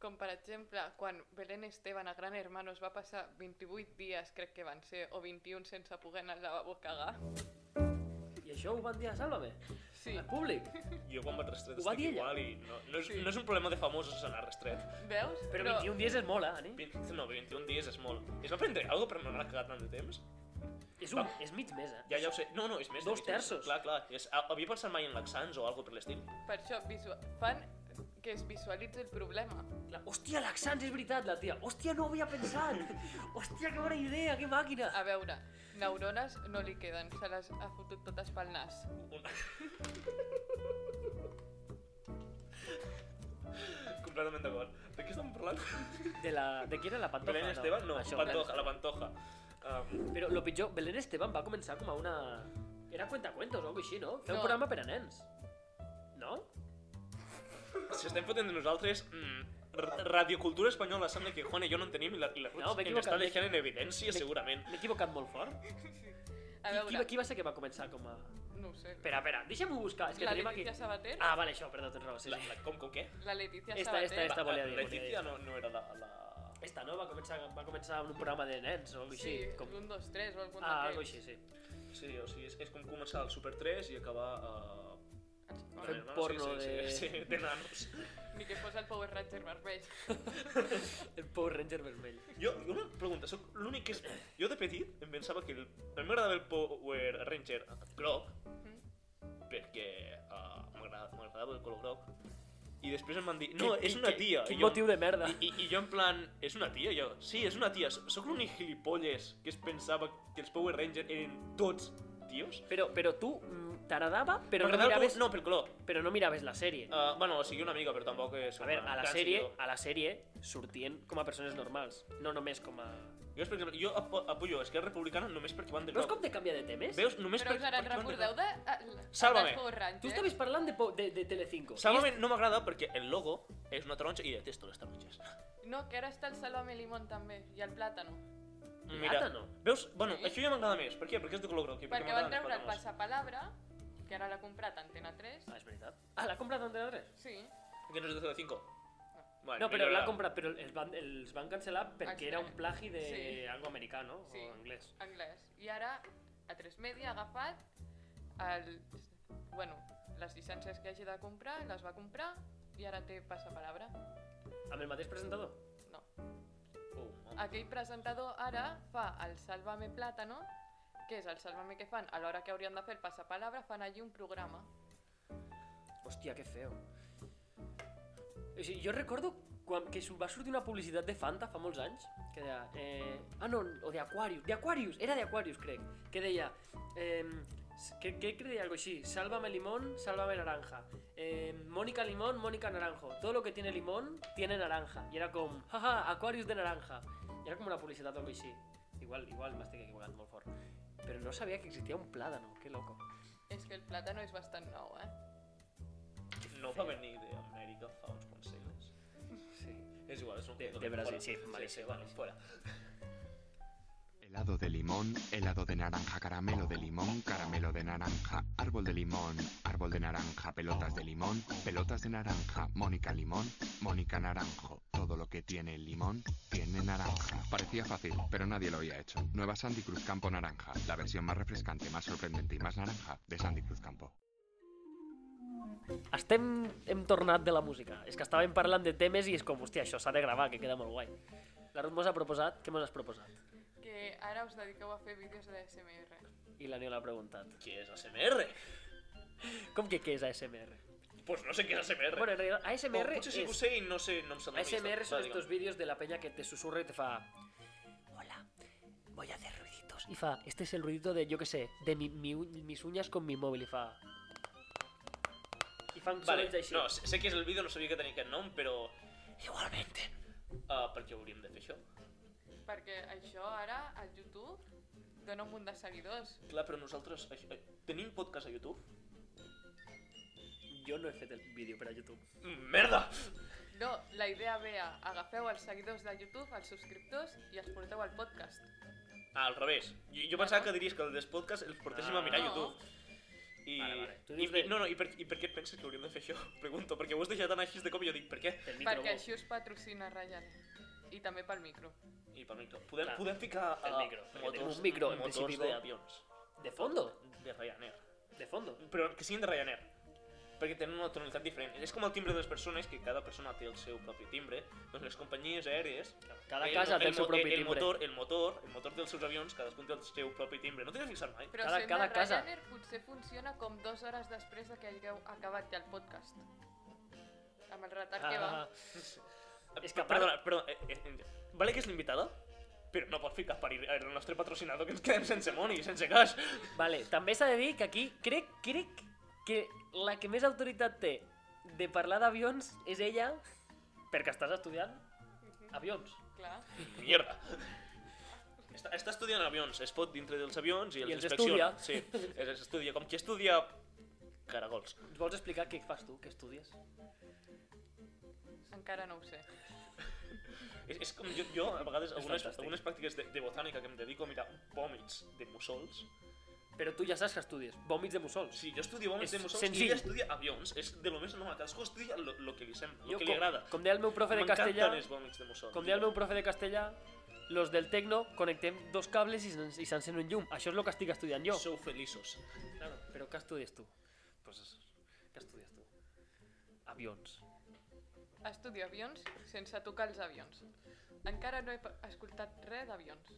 F: com per exemple quan Belén Esteban a Gran Hermano es va passar 28 dies, crec que van ser, o 21 sense poder anar al lavabo a cagar.
A: I això ho van dir a Sálvame,
F: Sí,
A: al públic.
B: Jo quan vaig restret
A: Ho va
B: estic
A: dir ella?
B: igual i no, no, és,
F: Sí.
B: no és un problema de famosos anar restret.
F: veus?
A: Però 21 dies és molt, eh, Ani?
B: 20, no, 21 dies és molt. Es va prendre alguna per no anar a cagar tant de temps?
A: És, un,
B: Va.
A: és mig mes, eh?
B: Ja, ja ho sé. No, no, és més. de
A: Dos
B: 20 dies.
A: terços.
B: Clar, clar. És, ha- havia pensat mai en laxants o alguna per l'estil.
F: Per això visua- fan que es visualitzi el problema.
A: La... Hòstia, laxants, és veritat, la tia. Hòstia, no ho havia pensat. Hòstia, que bona idea, que màquina.
B: Ah.
F: A veure, neurones no li queden, se les ha fotut totes pel nas.
B: Un... Completament d'acord. De què estem parlant?
A: De, la... de qui era la Pantoja?
B: Belén Esteban? No,
A: això.
B: Pantoja, la Pantoja. Um,
A: Però lo pitjor, Belén Esteban va començar com a una... Era cuentacuentos o alguna cosa així, no? Fer
F: No.
A: un programa per a nens. No?
B: si estem fotent de nosaltres... Mm, r- radiocultura espanyola sembla que Juan i jo no en tenim i la, i la Ruth
A: No, m'he
B: ens
A: equivocat,
B: està
A: m'he-
B: deixant en evidència,
A: m'he-
B: segurament.
A: M'he equivocat molt fort. Qui,
F: A
A: qui,
F: veure,
A: qui va ser que va començar com a...
F: no ho sé.
A: Espera, espera, deixa'm-ho buscar. És que
F: La
A: tenim aquí...
F: Leticia Sabater?
A: Ah, vale, això, perdó, tens raó. Sí,
B: La,
A: sí.
B: la, com, com, què?
F: La Leticia
A: Esta,
F: Sabater.
A: esta, esta.
B: La-
A: volia
B: la-
A: dir, volia
B: Leticia
A: dir.
B: no, no era la... la...
A: Esta, no? Va començar, va començar amb un programa de nens o alguna cosa
F: Sí,
A: així.
F: com... un, dos, tres o algun
A: Ah, alguna
F: d'aquells.
A: cosa així, sí.
B: Sí, o sigui, és, és com començar el Super 3 i acabar a...
A: Fer
B: Uh,
A: porno
B: sí, sí,
A: de-
B: Sí, sí, de nanos.
F: Ni que fos el Power Ranger vermell.
A: El Power Ranger vermell.
B: Jo, jo una pregunta, soc l'únic que... És... Jo de petit em pensava que... El... A mi m'agradava el Power Ranger groc,
A: Mm.
B: perquè uh, m'agradava el color groc, i després em van dir, no,
A: Qui-
B: és
A: qui-
B: una
A: qui-
B: tia.
A: Quin
B: I jo-
A: motiu de merda.
B: I, i, I jo en plan, és una tia, jo. Sí, és una tia. Soc l'únic gilipolles que es pensava que els Power Ranger eren tots tios.
A: Però, però tu mm, t'agradava, però no Ah,
B: M'agradava el
A: miraves,
B: color- No, pel color.
A: però no miraves la sèrie.
B: Uh, bueno, o sigui, una mica, però tampoc és...
A: A veure,
B: una
A: a la
B: gran
A: sèrie,
B: seguidor.
A: a la sèrie sortien com a persones normals, no només com a...
B: Jo, per exemple, jo apo apoyo Esquerra Republicana només perquè van de
A: Veus
B: groc.
A: com te canvia de temes?
B: Veus? Només
F: Però us
B: perquè,
F: ara
B: perquè van de
F: recordeu
B: groc.
F: de... eh,
B: Sálvame.
F: Sálvame. Power Ranger.
A: Tu estaves parlant de, po- de, de Telecinco.
B: Sálvame no m'agrada perquè el logo és una taronja i detesto les taronges.
F: No, que ara està el Sálvame Limón també, i el plàtano.
A: Plàtano.
B: veus? Bueno,
F: Sí.
B: això ja m'agrada més. Per què? Perquè és de color groc. i
F: Perquè van
B: m'agraden
F: treure el
B: els plàtans.
F: passapalabra, que ara l'ha comprat Antena 3.
A: Ah, és veritat. Ah, l'ha comprat Antena 3?
F: Sí,
B: Que no és de Telecinco. Vale,
A: No, però
B: millorarà.
A: l'ha comprat, però els van, els van cancel·lar perquè era un plagi de
F: Ah, Sí.
A: algo americano
F: Sí.
A: o anglès.
F: anglès. I ara, a 3 Media ha agafat el... Bueno, les llicències que hagi de comprar, les va comprar i ara té passapalabra.
A: Amb el mateix presentador?
F: No.
B: Oh, home.
F: Aquell presentador ara fa el Sálvame Plàtano, que és el Sálvame que fan a l'hora que haurien de fer el passapalabra, fan allí un programa.
A: Eh, Hòstia, que feo. O sigui, jo recordo quan, que su- va sortir una publicitat de Fanta fa molts anys, que deia... Eh, ah, no, o de Aquarius, de Aquarius, era de Aquarius, crec, que deia... Eh, que, que, que deia algo així, sálvame limón, sálvame naranja. Eh, Mónica limón, Mónica naranjo. Todo lo que tiene limón, tiene naranja. Y era com, jaja, Aquarius de naranja. I era com una publicitat o algo així. Igual, igual m'estic equivocant molt fort. Però no sabia que existia un plàdano, que loco.
F: És que el plàtano és bastant nou, eh?
B: No va venir d'Amèrica fa uns quants segles.
A: Sí.
B: És igual, és un...
A: De- de Brasil, sí,
B: vale,
A: malíssim,
B: sí, vale,
A: malíssim.
B: fora.
G: Helado de limón, helado de naranja, caramelo de limón, caramelo de naranja, árbol de limón, árbol de naranja, pelotas de limón, pelotas de naranja, Mónica limón, Mónica naranjo. Todo lo que tiene el limón tiene naranja. Parecía fácil, pero nadie lo había hecho. Nueva Sandy Cruz Campo Naranja, la versión más refrescante, más sorprendente y más naranja de Sandy Cruz Campo.
A: Estem, hem tornat de la música. És que estàvem parlant de temes i és com, hòstia, això s'ha de gravar, que queda molt guai. La Ruth mos ha proposat, què mos has proposat?
F: Que ara us dediqueu a fer vídeos de SMR.
A: I la Niola ha preguntat.
B: Què és ASMR?
A: Com que què és ASMR?
B: Pues no sé què és ASMR.
A: Bueno, en realidad, ASMR
B: potser sí que ho
A: és...
B: sé i no sé, no em sembla
A: ASMR són estos vídeos de la peña que te susurra y te fa... Hola, voy a hacer ruiditos. Y fa, este es el ruidito de, yo qué sé, de mi, mi, u- mis uñas con mi móvil. Y fa... I fan
B: Vale,
A: sonets així.
B: no, sé, sé que és el vídeo, no sabia que tenia aquest nom, però... Igualmente. Uh, per què hauríem de fer això?
F: Perquè això ara, al YouTube, dona un munt de seguidors.
B: Clar, però nosaltres... això- eh, Tenim podcast a YouTube?
A: Jo no he fet el vídeo per a YouTube.
B: Mm, Merda!
F: No, la idea vea, agafeu els seguidors de YouTube, els subscriptors, i els porteu al podcast.
B: Ah, al revés. Jo, jo pensava que diries que el dels podcasts els portéssim a mirar
A: Ah.
F: No.
B: YouTube. I,
A: Vale, vale. Tu
B: i,
A: dius de-
B: i, no, no, i per, i per què et penses que hauríem de fer això? Pregunto, perquè ho has deixat anar així de cop i jo dic, per què?
A: El micro
F: Perquè
A: bo.
F: així us patrocina Ryan. I també pel micro.
B: I pel micro. Podem,
A: Clar.
B: podem ficar
A: El
B: ah,
A: micro, perquè tenim
B: motors,
A: un micro, en
B: motors
A: principi, bo.
B: d'avions.
A: De fondo,
B: De Ryanair.
A: de fondo.
B: Però que siguin de Ryanair. Perquè tenen una tonalitat diferent. És com el timbre de les persones, que cada persona té el seu propi timbre. Doncs les companyies aèries...
A: Cada casa té el seu
B: mo-
A: propi
B: el
A: timbre.
B: Motor, el motor, el motor dels seus avions, cadascun té el seu propi timbre. No t'hi has fixat mai?
F: Però
A: Cada-
F: sent
A: cada
F: de
A: casa.
F: Ryanair potser funciona com dues hores després de que hagueu acabat ja el podcast. Amb el retard que va.
A: Ah, És que a part-
B: Perdona, perdona. Eh, eh, eh, vale que és l'invitada, però no pot ficar per el nostre patrocinador que ens quedem sense moni, sense gas.
A: Vale, també s'ha de dir que aquí crec, crec que la que més autoritat té de parlar d'avions és ella perquè estàs estudiant avions.
F: Clar.
B: Mierda. Està, està estudiant avions, es pot dintre dels avions i els,
A: I els
B: inspecciona. Sí, es, es estudia com qui estudia caragols.
A: Ens vols explicar què fas tu, què estudies?
F: Encara no ho sé.
B: És, és com jo, jo a vegades, algunes,
A: fantàstic.
B: algunes pràctiques de, de botànica que em dedico a mirar vòmits de mussols.
A: Però tu ja saps que estudies, vòmits de mussols.
B: Sí, jo estudio vòmits
A: És
B: de mussols
A: senzill.
B: i ella estudia avions. És de lo més normal, cadascú estudia lo, lo que li sembla, lo que li
A: com,
B: agrada.
A: com deia el meu profe de castellà,
B: M'encanten els vòmits de mussols.
A: com deia el meu profe de castellà, los del tecno connectem dos cables i s'en- i s'encén un llum. Això és el que estic estudiant jo.
B: Sou feliços.
A: Claro, però què estudies tu? Pues, què estudies tu? Avions.
F: Estudio avions sense tocar els avions. Encara no he pa- escoltat res d'avions.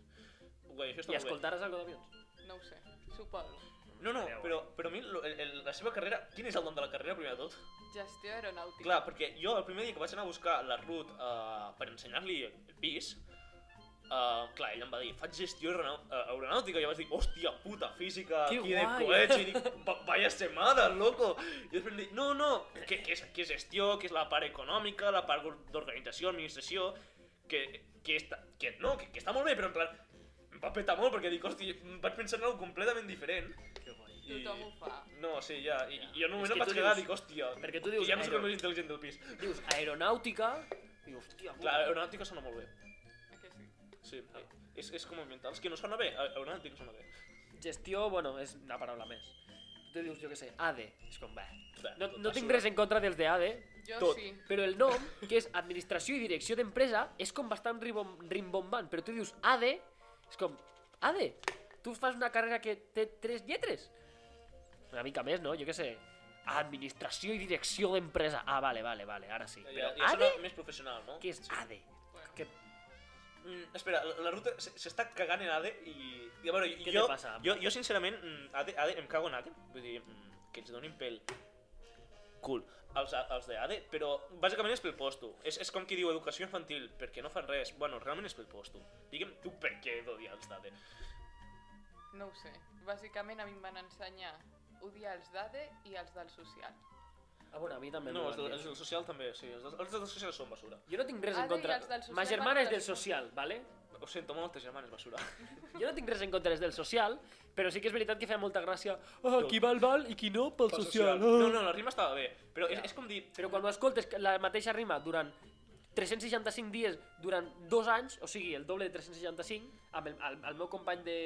B: Guai, això està
A: I
B: molt bé.
A: escoltaràs alguna d'avions?
F: No ho sé, suposo.
B: No, no,
A: eh?
B: però, però a mi lo- el, el, la seva carrera... Quin és el nom de la carrera, primer de tot?
F: Gestió aeronàutica.
B: Clar, perquè jo el primer dia que vaig anar a buscar la Ruth uh, per ensenyar-li el pis, uh, clar, ell em va dir, faig gestió aeronau- eh, aeronàutica, i jo vaig dir, hòstia puta, física,
A: Que
B: aquí de
A: guai.
B: coets, i dic, "Va- vaya semana, loco! I després em dic, no, no, que, que, és, que és gestió, que és la part econòmica, la part d'organització, administració, que, que, està, que no, que, que està molt bé, però en plan, em va petar molt perquè dic, hòstia, vaig pensar en algo completament diferent.
A: Que guai.
B: i-
F: Tothom ho fa.
B: No, sí, ja. I, i jo
A: És
B: només
A: que
B: em vaig
A: tu
B: quedar,
A: dius-
B: dic, hòstia,
A: perquè tu dius
B: que ja no sóc el
A: aero-
B: més intel·ligent del pis.
A: Dius aeronàutica i hòstia,
B: Clar,
A: puta.
B: aeronàutica sona molt bé.
F: Eh que sí?
B: Sí, és, és com ambientals, que no sona bé, a- aeronàutica sona bé.
A: Gestió, bueno, és una paraula més. Tu dius, jo què sé, ADE. És com, bah.
B: Bé,
A: No,
B: tot
A: no tinc
B: basura.
A: res en contra dels de ADE,
F: Jo
B: Tot.
F: sí.
A: però el nom, que és Administració i Direcció d'Empresa, és com bastant ribom, rimbombant. Però tu dius ADE, és com, ADE, tu fas una carrera que té tres lletres? Una mica més, no? Jo què sé. Administració i Direcció d'Empresa. Ah, vale, vale, vale, ara Ah, sí.
B: Ja,
A: Però
B: ja, ja
A: ADE?
B: sona més professional, no?
A: Què és ADE? Que...
B: Mm, espera, la, la ruta s- s'està cagant en ADE i... i a veure,
A: Què
B: jo,
A: te passa?
B: Jo, jo sincerament, mm, ADE, ADE, em cago en ADE. Vull dir, mm, que ens donin pel... cool, els, a- els de ADE, però bàsicament és pel posto. És, és com qui diu educació infantil, perquè no fan res. Bueno, realment és pel posto. Digue'm tu per què d'odiar els d'ADE.
F: No ho sé. Bàsicament a mi em van ensenyar odiar els d'ADE i els del social.
A: Ah, bueno, a mi també
B: No,
A: m'ho
B: els,
A: van
B: de,
A: dir.
B: els del social també, sí. Els, de- els del social són basura.
A: Jo no tinc res en
F: Ara i
A: contra.
F: els del social
A: Ma germana és
F: van
A: del
F: estar
A: social, ¿vale?
B: Ho sento, moltes germanes basura.
A: Jo no tinc res en contra des del social, però sí que és veritat que feia molta gràcia ah, qui val val i qui no pel
B: Pel
A: social. Ah.
B: No, no, la rima estava bé, però és, és com dir...
A: Però quan ho escoltes la mateixa rima durant 365 dies, durant dos anys, o sigui, el doble de 365, amb el, el, el meu company de,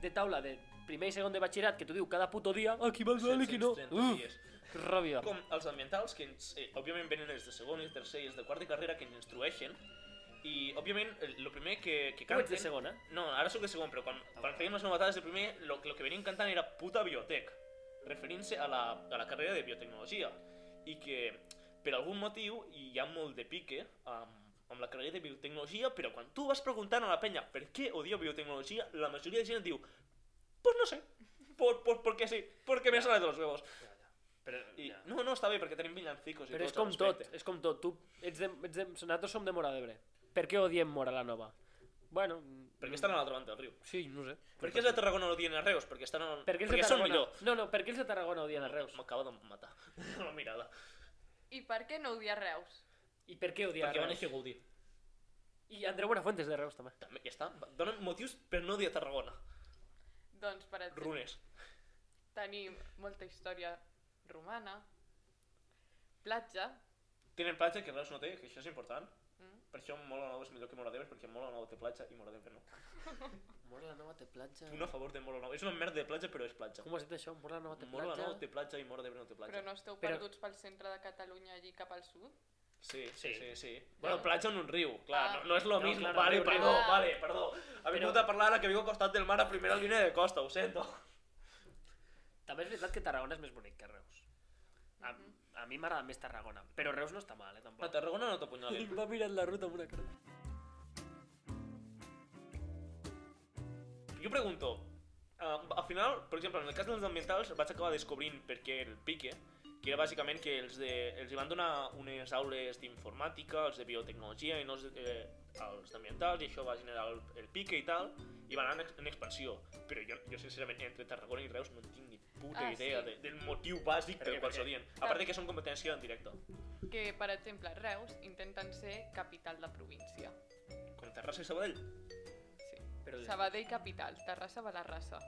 A: de taula de primer i segon de batxillerat, que t'ho diu cada puto dia, ah, qui val val i qui no.
B: 730
A: Uh,
B: dies.
A: que ràbia.
B: com els ambientals, que ens, eh, òbviament venen els de segon, els de tercer i els de quart de carrera que ens instrueixen, i òbviament el lo primer que, que
A: Tu ets
B: canten...
A: de segon, eh?
B: No, ara sóc de segon, però quan, quan fèiem les novetades de primer, lo, lo que venien cantant era puta biotec, referint-se a, la, a la carrera de biotecnologia, i que per algun motiu hi ha molt de pique amb, amb la carrera de biotecnologia, però quan tu vas preguntant a la penya per què odia biotecnologia, la majoria de gent et diu, pues no sé, por, por, porque sí, porque me sale de los huevos.
A: Però,
B: I, no, no, està bé, perquè tenim villancicos i
A: però és
B: tots al
A: com tot,
B: respecte.
A: és com tot. Tu ets de, ets de, nosaltres som de Mora d'Ebre. Per què odiem Mora la Nova? Bueno, mm,
B: Perquè estan a l'altra banda del riu.
A: Sí, no ho sé.
B: Per què els de Tarragona no odien a Reus? Perquè, estan a...
A: Per què els de
B: són
A: Tarragona?
B: millor.
A: No, no, per què els de Tarragona odien a Reus?
B: M'acaba de matar la mirada.
F: I per què no odiar Reus?
A: I per què odien a
B: Perquè va
A: Reus?
B: néixer Gaudí.
A: I Andreu Buenafuente és de Reus, també.
B: També, ja està. Va- Donen motius per no odiar Tarragona.
F: Doncs, per exemple,
B: Runes.
F: tenim molta història romana, platja,
B: Tenen platja que Reus no té, que això és important.
F: mm,
B: Per això Mola Nova és millor que Mola d'Ebre, perquè Mola Nova té platja i Mola d'Ebre no.
A: Mora la Nova té platja.
B: Un a favor de Mola Nova. És una merda de platja, però és platja.
A: Com has dit això? Mora la Nova té
B: Mola
A: platja.
B: Nova té platja i Mola d'Ebre no té platja.
F: però no esteu
A: Però-
F: perduts pel centre de Catalunya allí cap al sud?
B: Sí,
A: Sí.
B: sí, sí, sí. Bueno, platja en un riu, clar,
F: Ah.
B: no, no és lo
A: No,
B: mismo.
A: claro,
B: vale,
A: riu, riu.
B: perdó,
F: Ah.
B: vale, perdó. Ha vingut
A: Però-
B: a parlar ara que viu al costat del mar a primera línia de costa, ho sento.
A: També és veritat que Tarragona és més bonic que Reus. A, a mi m'agrada més Tarragona, però Reus no està mal, eh,
B: A
A: tampoc.
B: Tarragona no t'apunyalin.
A: Va mirant la ruta amb una cara.
B: Jo pregunto, eh, al final, per exemple, en el cas dels ambientals vaig acabar descobrint per què el pique, que era bàsicament que els, de, els hi van donar unes aules d'informàtica, els de biotecnologia i no els, de- eh, els d'ambientals, i això va generar el, el pique i tal, i van anar en, ex- en expansió. Però jo, jo, sincerament, entre Tarragona i Reus no en tinc ni puta
F: Ah,
B: idea
F: sí.
B: de, del motiu bàsic
A: Perquè-
B: pel qual
A: perquè-
B: s'odien. A part de que són competència en directe,
F: Que, per exemple, Reus intenten ser capital de província.
B: com Terrassa i Sabadell.
F: Sí.
A: Però les-
F: Sabadell capital, Terrassa va la raça.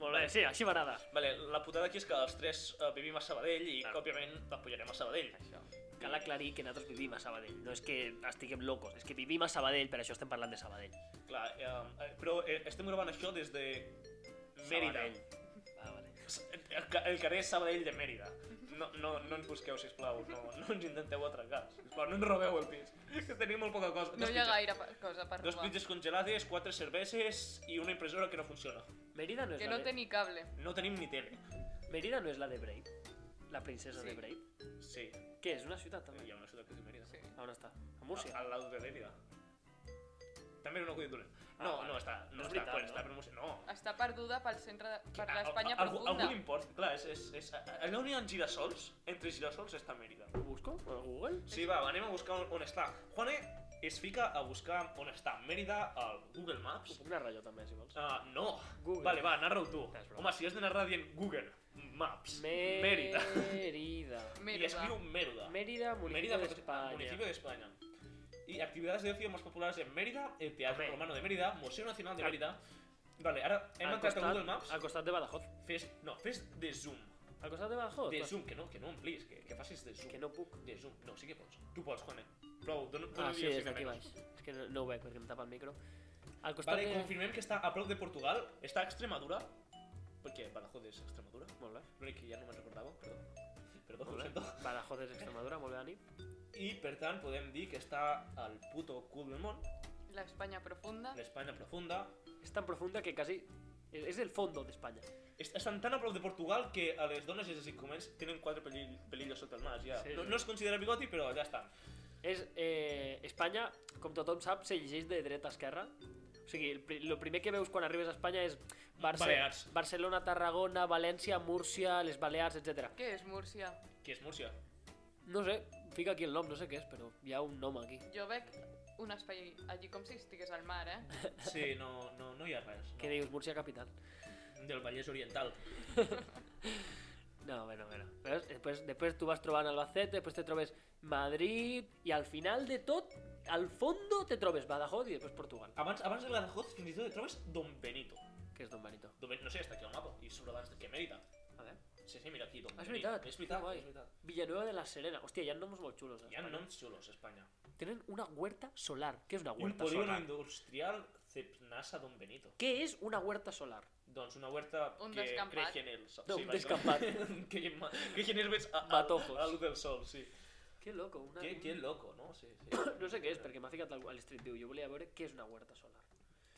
A: Molt bé, sí, així m'agrada.
B: Vale, la putada aquí és que els tres eh, vivim a Sabadell i,
A: Claro.
B: òbviament, apujarem a Sabadell.
F: Això.
A: Cal aclarir que nosaltres vivim a Sabadell. No és que estiguem locos, és que vivim a Sabadell, per això estem parlant de Sabadell.
B: Clar, eh, eh, però eh, estem gravant això des de Mèrida.
A: Sabadell. Ah, vale.
B: El, ca- el carrer Sabadell de Mèrida. No, no, no ens busqueu, sisplau, no, no ens intenteu atracar. Sisplau, no ens robeu el pis, que tenim molt poca cosa.
F: No
B: Dos
F: hi ha
B: pizzas-
F: gaire pa- cosa per
B: Dos
F: robar.
B: pizzas congelades, quatre cerveses i una impressora que no funciona.
A: Mérida no és,
F: Que
A: la,
F: no té
A: de...
F: ni cable.
B: No tenim ni tele.
A: Mérida no és la de Brave, la princesa
F: Sí.
A: de Brave.
B: Sí,
A: Què, és una ciutat també?
B: hi ha una ciutat que es diu Mèrida.
F: Sí.
A: A on està? A
B: Múrcia.
A: Múrcia?
B: Al, lado de Mèrida. També era un acudit dolent.
A: Ah,
B: No,
A: vale.
B: no està,
A: No
B: no,
A: és
B: està,
A: veritat,
B: bueno,
A: no?
B: està per Múrcia. No,
F: Està perduda pel centre, de... per
B: Ah,
F: l'Espanya
B: al- al-
F: profunda.
B: Algun import, clar, és, és, és, allà on hi ha girassols, entre girassols està Mèrida.
A: Ho busco? A Google?
B: Sí, va, anem a buscar on, on està. Juane es fica a buscar on està Mèrida al Google
A: Ho
B: Maps.
A: puc narrar jo també, si vols.
B: Uh, no.
A: Google.
B: Vale, va, narra-ho tu.
A: És broma.
B: Home, si has de narrar dient Google Maps, Mèrida,
A: Mérida.
B: i escriu Mèrida.
F: Mèrida.
A: Mérida, municipio
B: Mérida,
A: de
B: Prote- ah,
A: España.
B: municipio de España. Y actividades de ocio más populares en Mérida, el Teatro
A: Hombre.
B: Romano de Mérida, Museo Nacional de Mérida... Vale, ara hem
A: Al
B: entrat a
A: costat-
B: Google Maps.
A: Al costat de Badajoz.
B: Fes, no, fes de zoom.
A: Al costat de Badajoz?
B: De
A: clar.
B: zoom, que no, que no amplis, que, que facis de zoom.
A: Que no puc.
B: De zoom, no, sí que pots. Tu pots, Juan, eh? Prou, dona, dona
A: Ah, sí,
B: direcció
A: des d'aquí
B: de
A: baix. És que no, no ho veig perquè em tapa el micro. Al costat
B: Vale,
A: de...
B: confirmem que està a prop de Portugal, està a Extremadura, perquè Badajoz és Extremadura,
A: Molt bé.
B: l'únic que ja no me'n recordava, perdó. Perdó, ho
A: Molt bé.
B: sento.
A: Badajoz és Extremadura, molt bé, Dani.
B: I, per tant, podem dir que està al puto cul del món,
F: L'Espanya profunda.
B: l'Espanya profunda.
A: És tan profunda que quasi... És és el fondo d'Espanya.
B: Est- Estan tan a prop de Portugal que a les dones i els comens tenen quatre pelill, pelillos sota el nas, ja.
A: Sí,
B: no,
A: sí.
B: no es considera bigoti, però ja estan.
A: És... Eh, Espanya, com tothom sap, se llegeix de dreta a esquerra. O sigui, el, pri- lo primer que veus quan arribes a Espanya és Barce
B: Balears.
A: Barcelona, Tarragona, València, Múrcia, les Balears, etc.
F: Què és Múrcia?
B: Qui és Múrcia?
A: No sé, fica aquí el nom, no sé què és, però hi ha un nom aquí.
F: Jo veig un espai allí com si estigués al mar, eh?
B: Sí, no, no, no hi ha res.
A: Què dius, Múrcia capital?
B: No. Del Vallès Oriental.
A: No, bueno, bueno. Ves? Després, després tu vas trobant Albacete, després te trobes Madrid, i al final de tot, al fondo te trobes Badajoz i després Portugal,
B: Abans, abans de Badajoz, fins i tot et trobes Don Benito.
A: que és Don Benito.
B: Don Benito, no sé, està aquí al mapa. I sobre abans de que Mérida.
A: A veure.
B: Sí, sí, mira aquí, Don
A: Ah, és
B: Benito.
A: veritat.
B: És veritat,
A: Guai.
B: és veritat.
A: Villanueva de la Serena. Hòstia, hi ha noms molt xulos. eh?
B: Hi ha noms xulos a Espanya.
A: Tenen una huerta solar. Què és una
B: Un
A: huerta
B: polígono
A: solar?
B: industrial Cepnasa Don Benito.
A: Què és una huerta solar?
B: Doncs una huerta
F: Un
B: que
F: descampat.
B: creix en el sol.
A: No, un
B: vaja,
A: descampat.
B: que, ma- que generes a, a,
A: Matojos.
B: a luz del sol, sí.
A: Qué loco, una...
B: Que, que loco, no? Sí, sí.
A: No sé què és, perquè m'ha ficat al al Street View. Jo volia veure què és una huerta solar.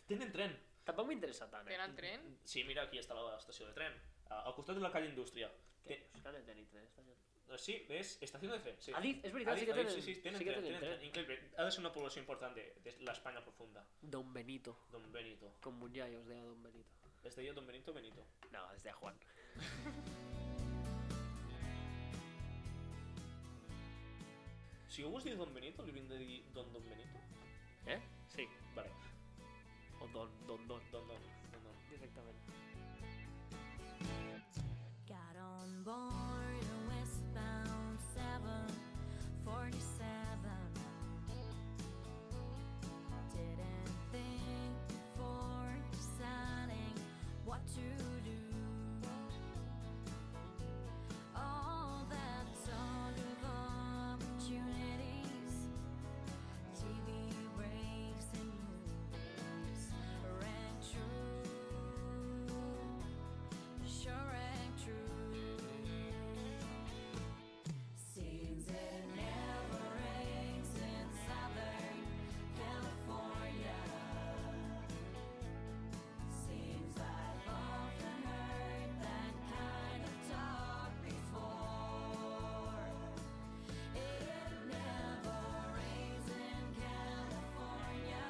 B: Tenen tren.
A: Tampoc m'interessa tant, eh?
F: Tenen tren?
B: Sí, mira, aquí està la estació de tren. A- Al costat de la calle Indústria.
A: Què?
B: Té-
A: Que han de tenir tres, esta gent.
B: eh, Sí, és estació de tren, sí.
A: Adif, és veritat, sí que
B: Adif,
A: tenen...
B: sí, sí, tenen
A: sí que
B: tren,
A: tenen tren.
B: Increïble. Ha de ser una població important de, de l'Espanya profunda.
A: Don Benito.
B: Don Benito.
A: Con Muñay os deia Don Benito.
B: Es deia Don Benito Benito.
A: No, es deia Juan.
B: Si algú es diu Don Benito, li hauríem de dir Don Don Benito?
A: Eh? Sí.
B: Vale,
A: O Don Don Don.
B: Don Don. don, don.
A: Directament.
H: Got on board a westbound 747. Didn't think before deciding what to do. All that talk of opportunities, TV breaks and movies rang true sure and true. Seems it never rains in Southern California. Seems I've often heard that kind of talk before. It never rains in California,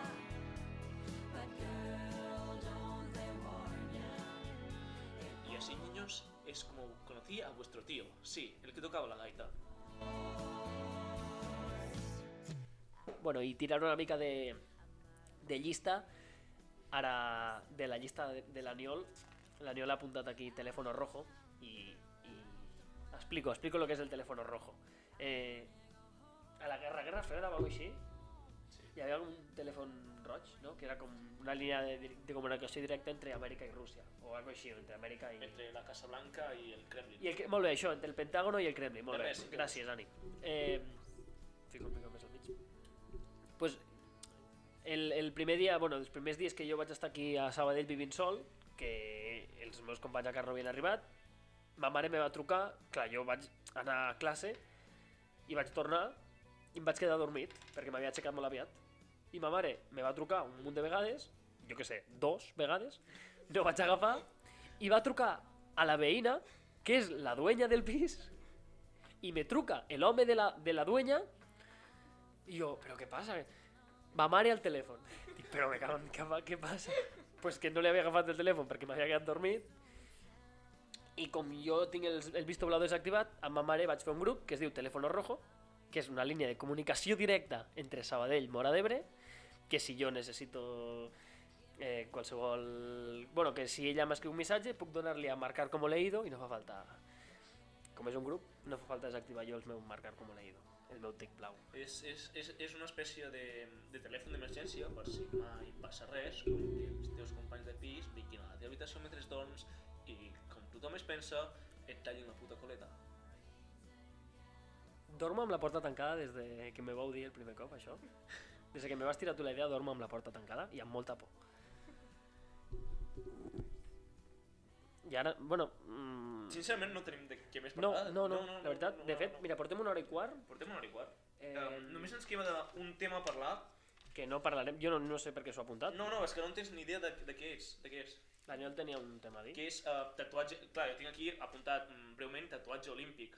H: but girl, don't they warn ya?
B: Y así, niños, es como conocí a vuestro tío. Sí, el que tocaba la gaita.
A: Bueno, i tirant una mica de, de llista, ara de la llista de, de l'Aniol, l'Aniol ha apuntat aquí Teléfono Rojo i, i explico, explico lo que és el Teléfono Rojo. Eh, a la Guerra Guerra Freda o alguna cosa així, hi havia un telèfon roig, no? que era com una línia de, dir- de comunicació directa entre Amèrica i Rússia, o alguna cosa així, entre Amèrica i...
B: Entre la Casa Blanca y el Kremlin.
A: I el, Cre- molt bé, això, entre el Pentágono i el Kremlin, molt
B: De
A: bé.
B: res, de
A: Gràcies, Dani. Eh, fico el micro més al mig. Pues, el, el primer dia, bueno, els primers dies que jo vaig estar aquí a Sabadell vivint sol, que els meus companys a Carro havien arribat, ma mare me va trucar, clar, jo vaig anar a classe i vaig tornar i em vaig quedar dormit perquè m'havia aixecat molt aviat. I ma mare me va trucar un munt de vegades, jo que sé, dos vegades, no vaig agafar i va trucar a la veïna, que és la dueña del pis, i me truca el home de la, de la dueña i jo, però què passa? Ma mare al telèfon. Dic, però me cago en què, què passa? Pues que no li havia agafat el telèfon perquè m'havia quedat dormit i com jo tinc el, el visto blau desactivat, amb ma mare vaig fer un grup que es diu Teléfono Rojo, que és una línia de comunicació directa entre Sabadell i Mora d'Ebre, que si jo necessito eh, qualsevol... Bueno, que si ella m'escriu un missatge puc donar-li a marcar com ho leído i no fa falta... Com és un grup, no fa falta desactivar jo el meu marcar com ho leído, el meu tic blau.
B: És, és, és, és una espècie de, de telèfon d'emergència per si mai passa res, com que els teus companys de pis vinguin a la teva habitació mentre dorms i, com tothom es pensa, et tallin la puta coleta.
A: Dormo amb la porta tancada des de que me vau dir el primer cop, això. Des de que me vas tirar tu la idea, dormo amb la porta tancada i amb molta por. I ara, bueno... Mm,
B: Sincerament, no tenim de què més
A: no,
B: parlar.
A: no, no, la veritat, de fet, mira, portem una hora i quart
B: Portem una hora i quart.
A: Eh,
B: Um, només ens queda un tema a parlar.
A: que no parlarem, jo no, no sé per què s'ho ha apuntat.
B: No, no, és que no en tens ni idea de, de què és. De què és.
A: Daniel tenia un tema a dir.
B: que és uh, tatuatge... Clar, jo tinc aquí apuntat mm, breument tatuatge olímpic.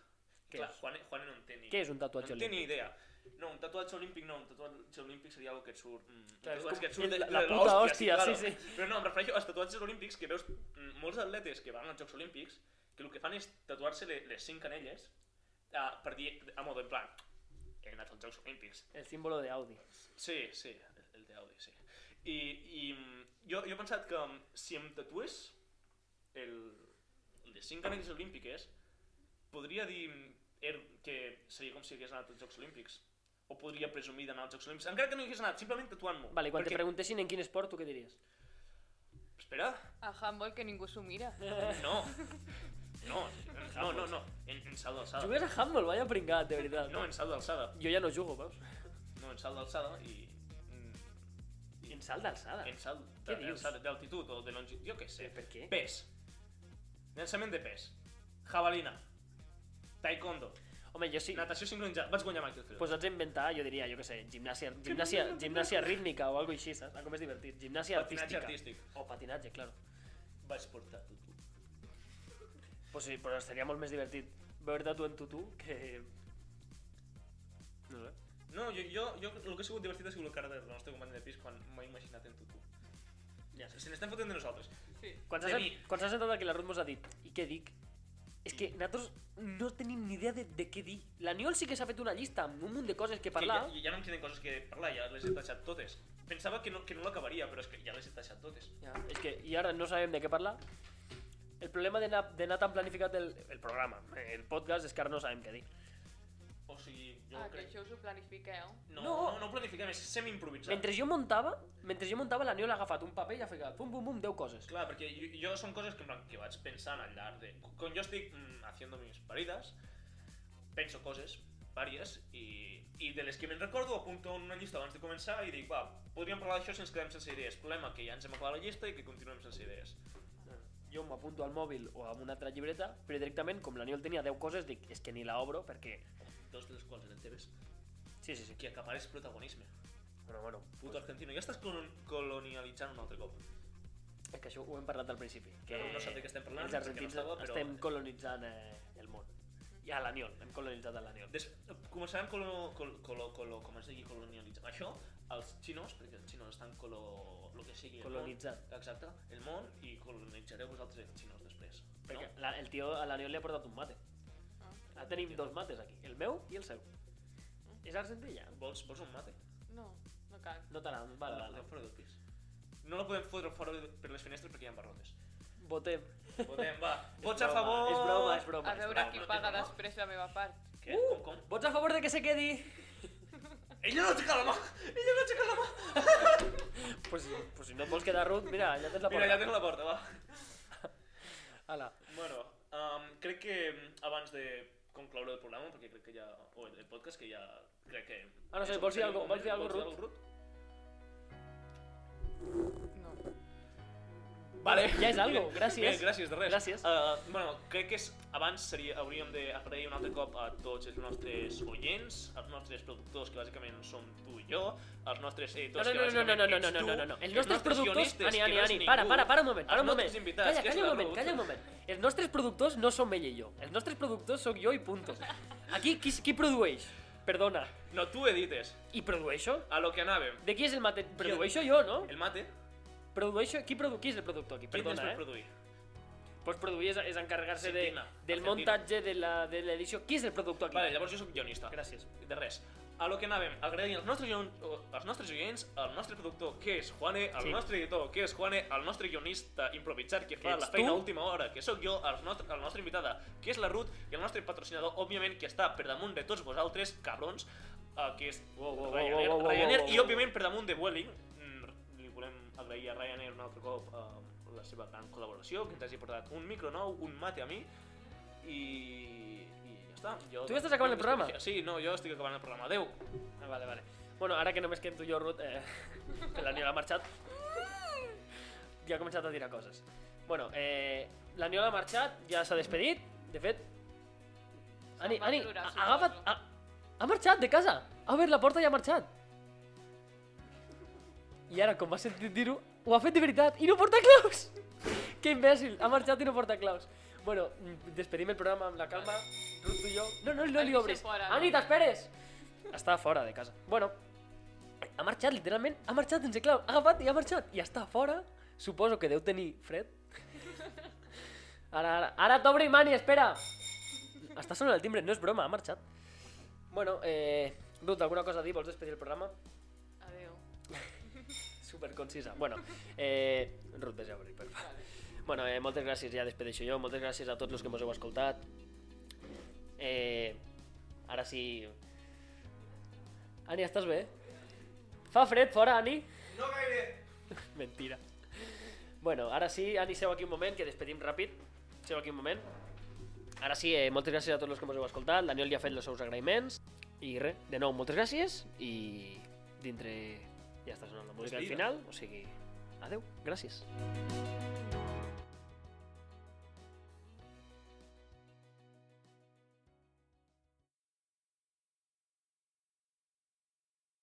A: Què
B: Clar,
A: és?
B: Juan, Juan no en té ni
A: Què és un tatuatge
B: no en té ni
A: olímpic?
B: idea. No, un tatuatge olímpic no, un tatuatge olímpic seria algo que et surt... Mm, un
A: Clar, és
B: tatuatge
A: com-
B: que et surt de,
A: la-
B: de
A: la puta hòstia,
B: claro.
A: sí,
B: Però no, em refereixo als tatuatges olímpics que veus mm, molts atletes que van als Jocs Olímpics que el que fan és tatuar-se le- les cinc canelles ah, per dir, a modo, en plan, he anat als Jocs Olímpics.
A: El símbolo de Audi.
B: Sí, sí, el, el d'Audi, sí. I, i mm, jo, jo he pensat que mm, si em tatués el, el de 5 anells olímpiques, podria dir mm, er- que seria com si hagués anat als Jocs Olímpics. O podria presumir d'anar als Jocs Olímpics, encara que no hi hagués anat, simplement tatuant-m'ho.
A: Vale, i quan te
B: Perquè-
A: preguntessin en quin esport, tu què diries?
B: Espera,
F: A handball que ningú s'ho mira.
B: no. No, no, no, no. En, en salt d'alçada.
A: Jugues a handball, vaya pringat, de veritat.
B: Ah. No, en salt d'alçada.
A: Jo ja no jugo, veus?
B: No, en salt d'alçada i... mm,
A: En salt d'alçada.
B: En salt
A: Què
B: de- en
A: dius?
B: salt d'altitud o de longitud, jo què sé.
A: Per què?
B: Pes. Llançament de pes. Jabalina. Taekwondo.
A: Home, jo sí.
B: Natació sincronitzada. Vaig guanyar Michael Phelps.
A: Posats a inventar, jo diria, jo què sé, gimnàsia, gimnàsia, gimnàsia rítmica o alguna així, saps? Ah, com és divertit. Gimnàsia
B: Patinatge
A: artística.
B: artístic.
A: O patinatge, claro.
B: Vaig portar tutú.
A: Pues sí, però seria molt més divertit veure tatu en tutú que... No sé.
B: No, jo, jo, jo el que ha sigut divertit ha sigut la cara del nostre company de pis quan m'ha imaginat en tutú.
A: Ja sé.
B: Se n'estan fotent de nosaltres.
F: Sí.
A: Quan
B: De
A: s'ha
B: mi.
A: quan s'ha sentat aquí la Ruth mos ha dit, i què dic? És que nosaltres no tenim ni idea de, de què dir. La Niol sí que s'ha fet una llista amb un munt de coses que parlar.
B: Que ja, ja no em queden coses que parlar, ja les he tachat totes. Pensava que no, que no l'acabaria, però és que ja les he tachat totes.
A: Ja, és que i ara no sabem de què parlar. El problema de anar, de anar tan planificat el, el programa, eh, el podcast, és que ara no sabem què dir.
B: O sigui, jo
F: Ah, que
B: crec...
F: això us ho planifiqueu.
B: No, no,
A: No.
B: no, no ho planifiquem, és semi-improvisat.
A: Mentre jo muntava, mentre jo muntava la Niol ha agafat un paper i ha ficat pum pum pum 10 coses.
B: Clar, perquè jo, jo són coses que, en plan, que vaig pensant al llarg de... Quan jo estic mm, haciendo mis paridas, penso coses, vàries, i, i de les que me'n recordo apunto en una llista abans de començar i dic, va, podríem parlar d'això si ens quedem sense idees. Problema que ja ens hem acabat la llista i que continuem sense idees.
A: Jo m'apunto al mòbil o a una altra llibreta, però directament, com la Niol tenia 10 coses, dic, és que ni la obro perquè...
B: Dos de les quals eren teves.
A: Sí, sí, sí.
B: Que acapares protagonisme.
A: Bueno, bueno,
B: Puto argentino, ja estàs colon colonialitzant un altre cop.
A: és que això ho hem parlat al principi. Que
B: Però no sap de què estem parlant,
A: Els argentins
B: perquè no estava, però-
A: estem colonitzant eh, el món. I a la Niol, hem colonitzat a la Niol.
B: Des, començaran colo, colo, colo, colo, com es digui, colonialitzant. Això, els xinos, perquè els xinos estan colo... Lo que sigui, el món.
A: Colonitzat.
B: Exacte, el món i colonitzareu vosaltres els xinos després.
A: Perquè la, el tio a la Niol li ha portat un mate. Ara Ah, tenim dos mates aquí, el meu i el seu.
F: Mm.
A: És argentí ja?
B: No? Vols, vols un mate?
F: No, no cal.
A: No t'agrada,
B: Vale,
A: vale,
B: la
A: vale.
B: podem fora del pis. No la podem fotre fora de- per les finestres perquè hi ha barrotes.
A: Votem.
B: Votem, va. Vots
A: És
B: a
A: broma,
B: favor!
A: És broma, és broma.
F: A
A: és
F: veure
A: broma.
F: qui
B: no,
F: paga
B: no.
F: després la meva part.
B: Què? Uh! Com, com?
A: Vots a favor de que se quedi?
B: Ella no aixeca la mà! Ella no aixeca la mà!
A: Pues, pues si no et vols quedar, Ruth, mira, allà tens la porta.
B: Mira, ja tens la porta, va.
A: Ala.
B: Bueno, um, crec que mm, abans de concloure el programa, perquè crec que ja... o el el podcast, que ja... crec que...
A: Ah, no sé,
B: és el-
A: vols dir
B: el
A: algo-
B: moment,
A: vols dir algo, Ruth?
F: No.
B: Vale.
A: Ja és algo, gràcies.
B: Bé, gràcies, de res.
A: Gràcies.
B: Uh, bueno, crec que és, abans seria, hauríem d'agrair un altre cop a tots els nostres oients, als nostres productors, que bàsicament som tu i jo, als nostres
A: No,
B: editors,
A: no, no,
B: que
A: no, no,
B: bàsicament
A: no, no, no,
B: ets
A: no,
B: tu,
A: no, no, no. Els nostres productors...
B: guionistes,
A: Ani,
B: que
A: Ani,
B: no ets
A: Ani,
B: ningú,
A: para, para, para un moment,
B: els
A: para un moment.
B: nostres invitats,
A: Calla,
B: que és
A: calla un
B: la
A: moment,
B: Ruth.
A: calla un moment. Els nostres productors no som ell i jo. Els nostres productors sóc jo i punto. Aquí, qui, qui produeix? Perdona.
B: No, tu edites.
A: I produeixo?
B: A lo que anàvem.
A: De qui és el mate? Produeixo jo, no?
B: El mate,
A: Produeixo... Qui, produ... qui és el productor aquí?
B: qui tens
A: Perdona,
B: per
A: eh?
B: produir?
A: Pues produir és, és encarregar-se de,
B: Argentina,
A: del
B: Argentina.
A: muntatge, de la- de l'edició. Qui és el productor aquí?
B: Vale, llavors jo sóc guionista.
A: Gràcies.
B: De res. A lo que anàvem, agrair als nostres, guion... o- als nostres oients, al nostre productor, que és Juane, al
A: Sí.
B: sí. nostre editor, que és Juane, al nostre guionista improvisat, que
A: Que
B: fa
A: ets
B: la feina
A: tu.
B: a última hora, que sóc jo, al nostre, a la nostra invitada, que és la Ruth, i al nostre patrocinador, òbviament, que està per damunt de tots vosaltres, cabrons, eh, que és
A: wow, wow,
B: Ryanair,
A: wow, wow,
B: Ryanair
A: wow, wow.
B: i, òbviament, per damunt de Welling. Mm, Li volem agrair a Ryanair un altre cop eh, la seva gran col·laboració, que ens hagi portat un micro nou, un mate a mi, i, i ja està. Jo,
A: Tu ja estàs acabant el programa?
B: Sí, no, jo estic acabant el programa. Adeu.
A: Ah, vale, vale. Bueno, ara que només quedem tu i jo, Ruth, eh, que la Niola ha marxat, ja ha començat a tirar coses. Bueno, eh, la Niola ha marxat, ja s'ha despedit, de fet... Ani,
F: va
A: Ani, a-
F: plorar, suposo.
A: agafa't... A, ha marxat de casa! Ha obert la porta i ha marxat! I ara, com va sentir dir-ho, ho ha fet de veritat i no porta claus! Que imbècil, ha marxat i no porta claus. Bueno, mm, despedim el programa amb la calma, Ruth, tu i jo... No, no, no
F: Ani,
A: li
F: se
A: obris.
F: fora, no?
A: Ani, t'esperes! Està fora de casa. Bueno, ha marxat, literalment, ha marxat sense clau. Ha agafat i ha marxat. I està fora. Suposo que deu tenir fred. Ara, ara, ara t'obrim, Mani, espera. Està sonant el timbre, no és broma, ha marxat. Bueno, eh, Ruth, alguna cosa a dir? Vols despedir el programa?
F: Adéu.
A: Super concisa. Bueno, eh, Ruth, vés a obrir, per favor. Bueno, eh, moltes gràcies, ja despedeixo jo. Moltes gràcies a tots els que mos heu escoltat. Eh, ara sí... Ani, estàs bé? Fa fred fora, Ani?
B: No gaire!
A: Mentira. Bueno, ara sí, Ani, seu aquí un moment, que despedim ràpid. Seu aquí un moment. Ara sí, eh, moltes gràcies a tots els que mos heu escoltat. L'Aniol ja ha fet els seus agraïments. I res, de nou, moltes gràcies. I dintre... Ja està sonant la música al
B: Despedida.
A: final, o sigui... Adeu, gràcies.
H: Thank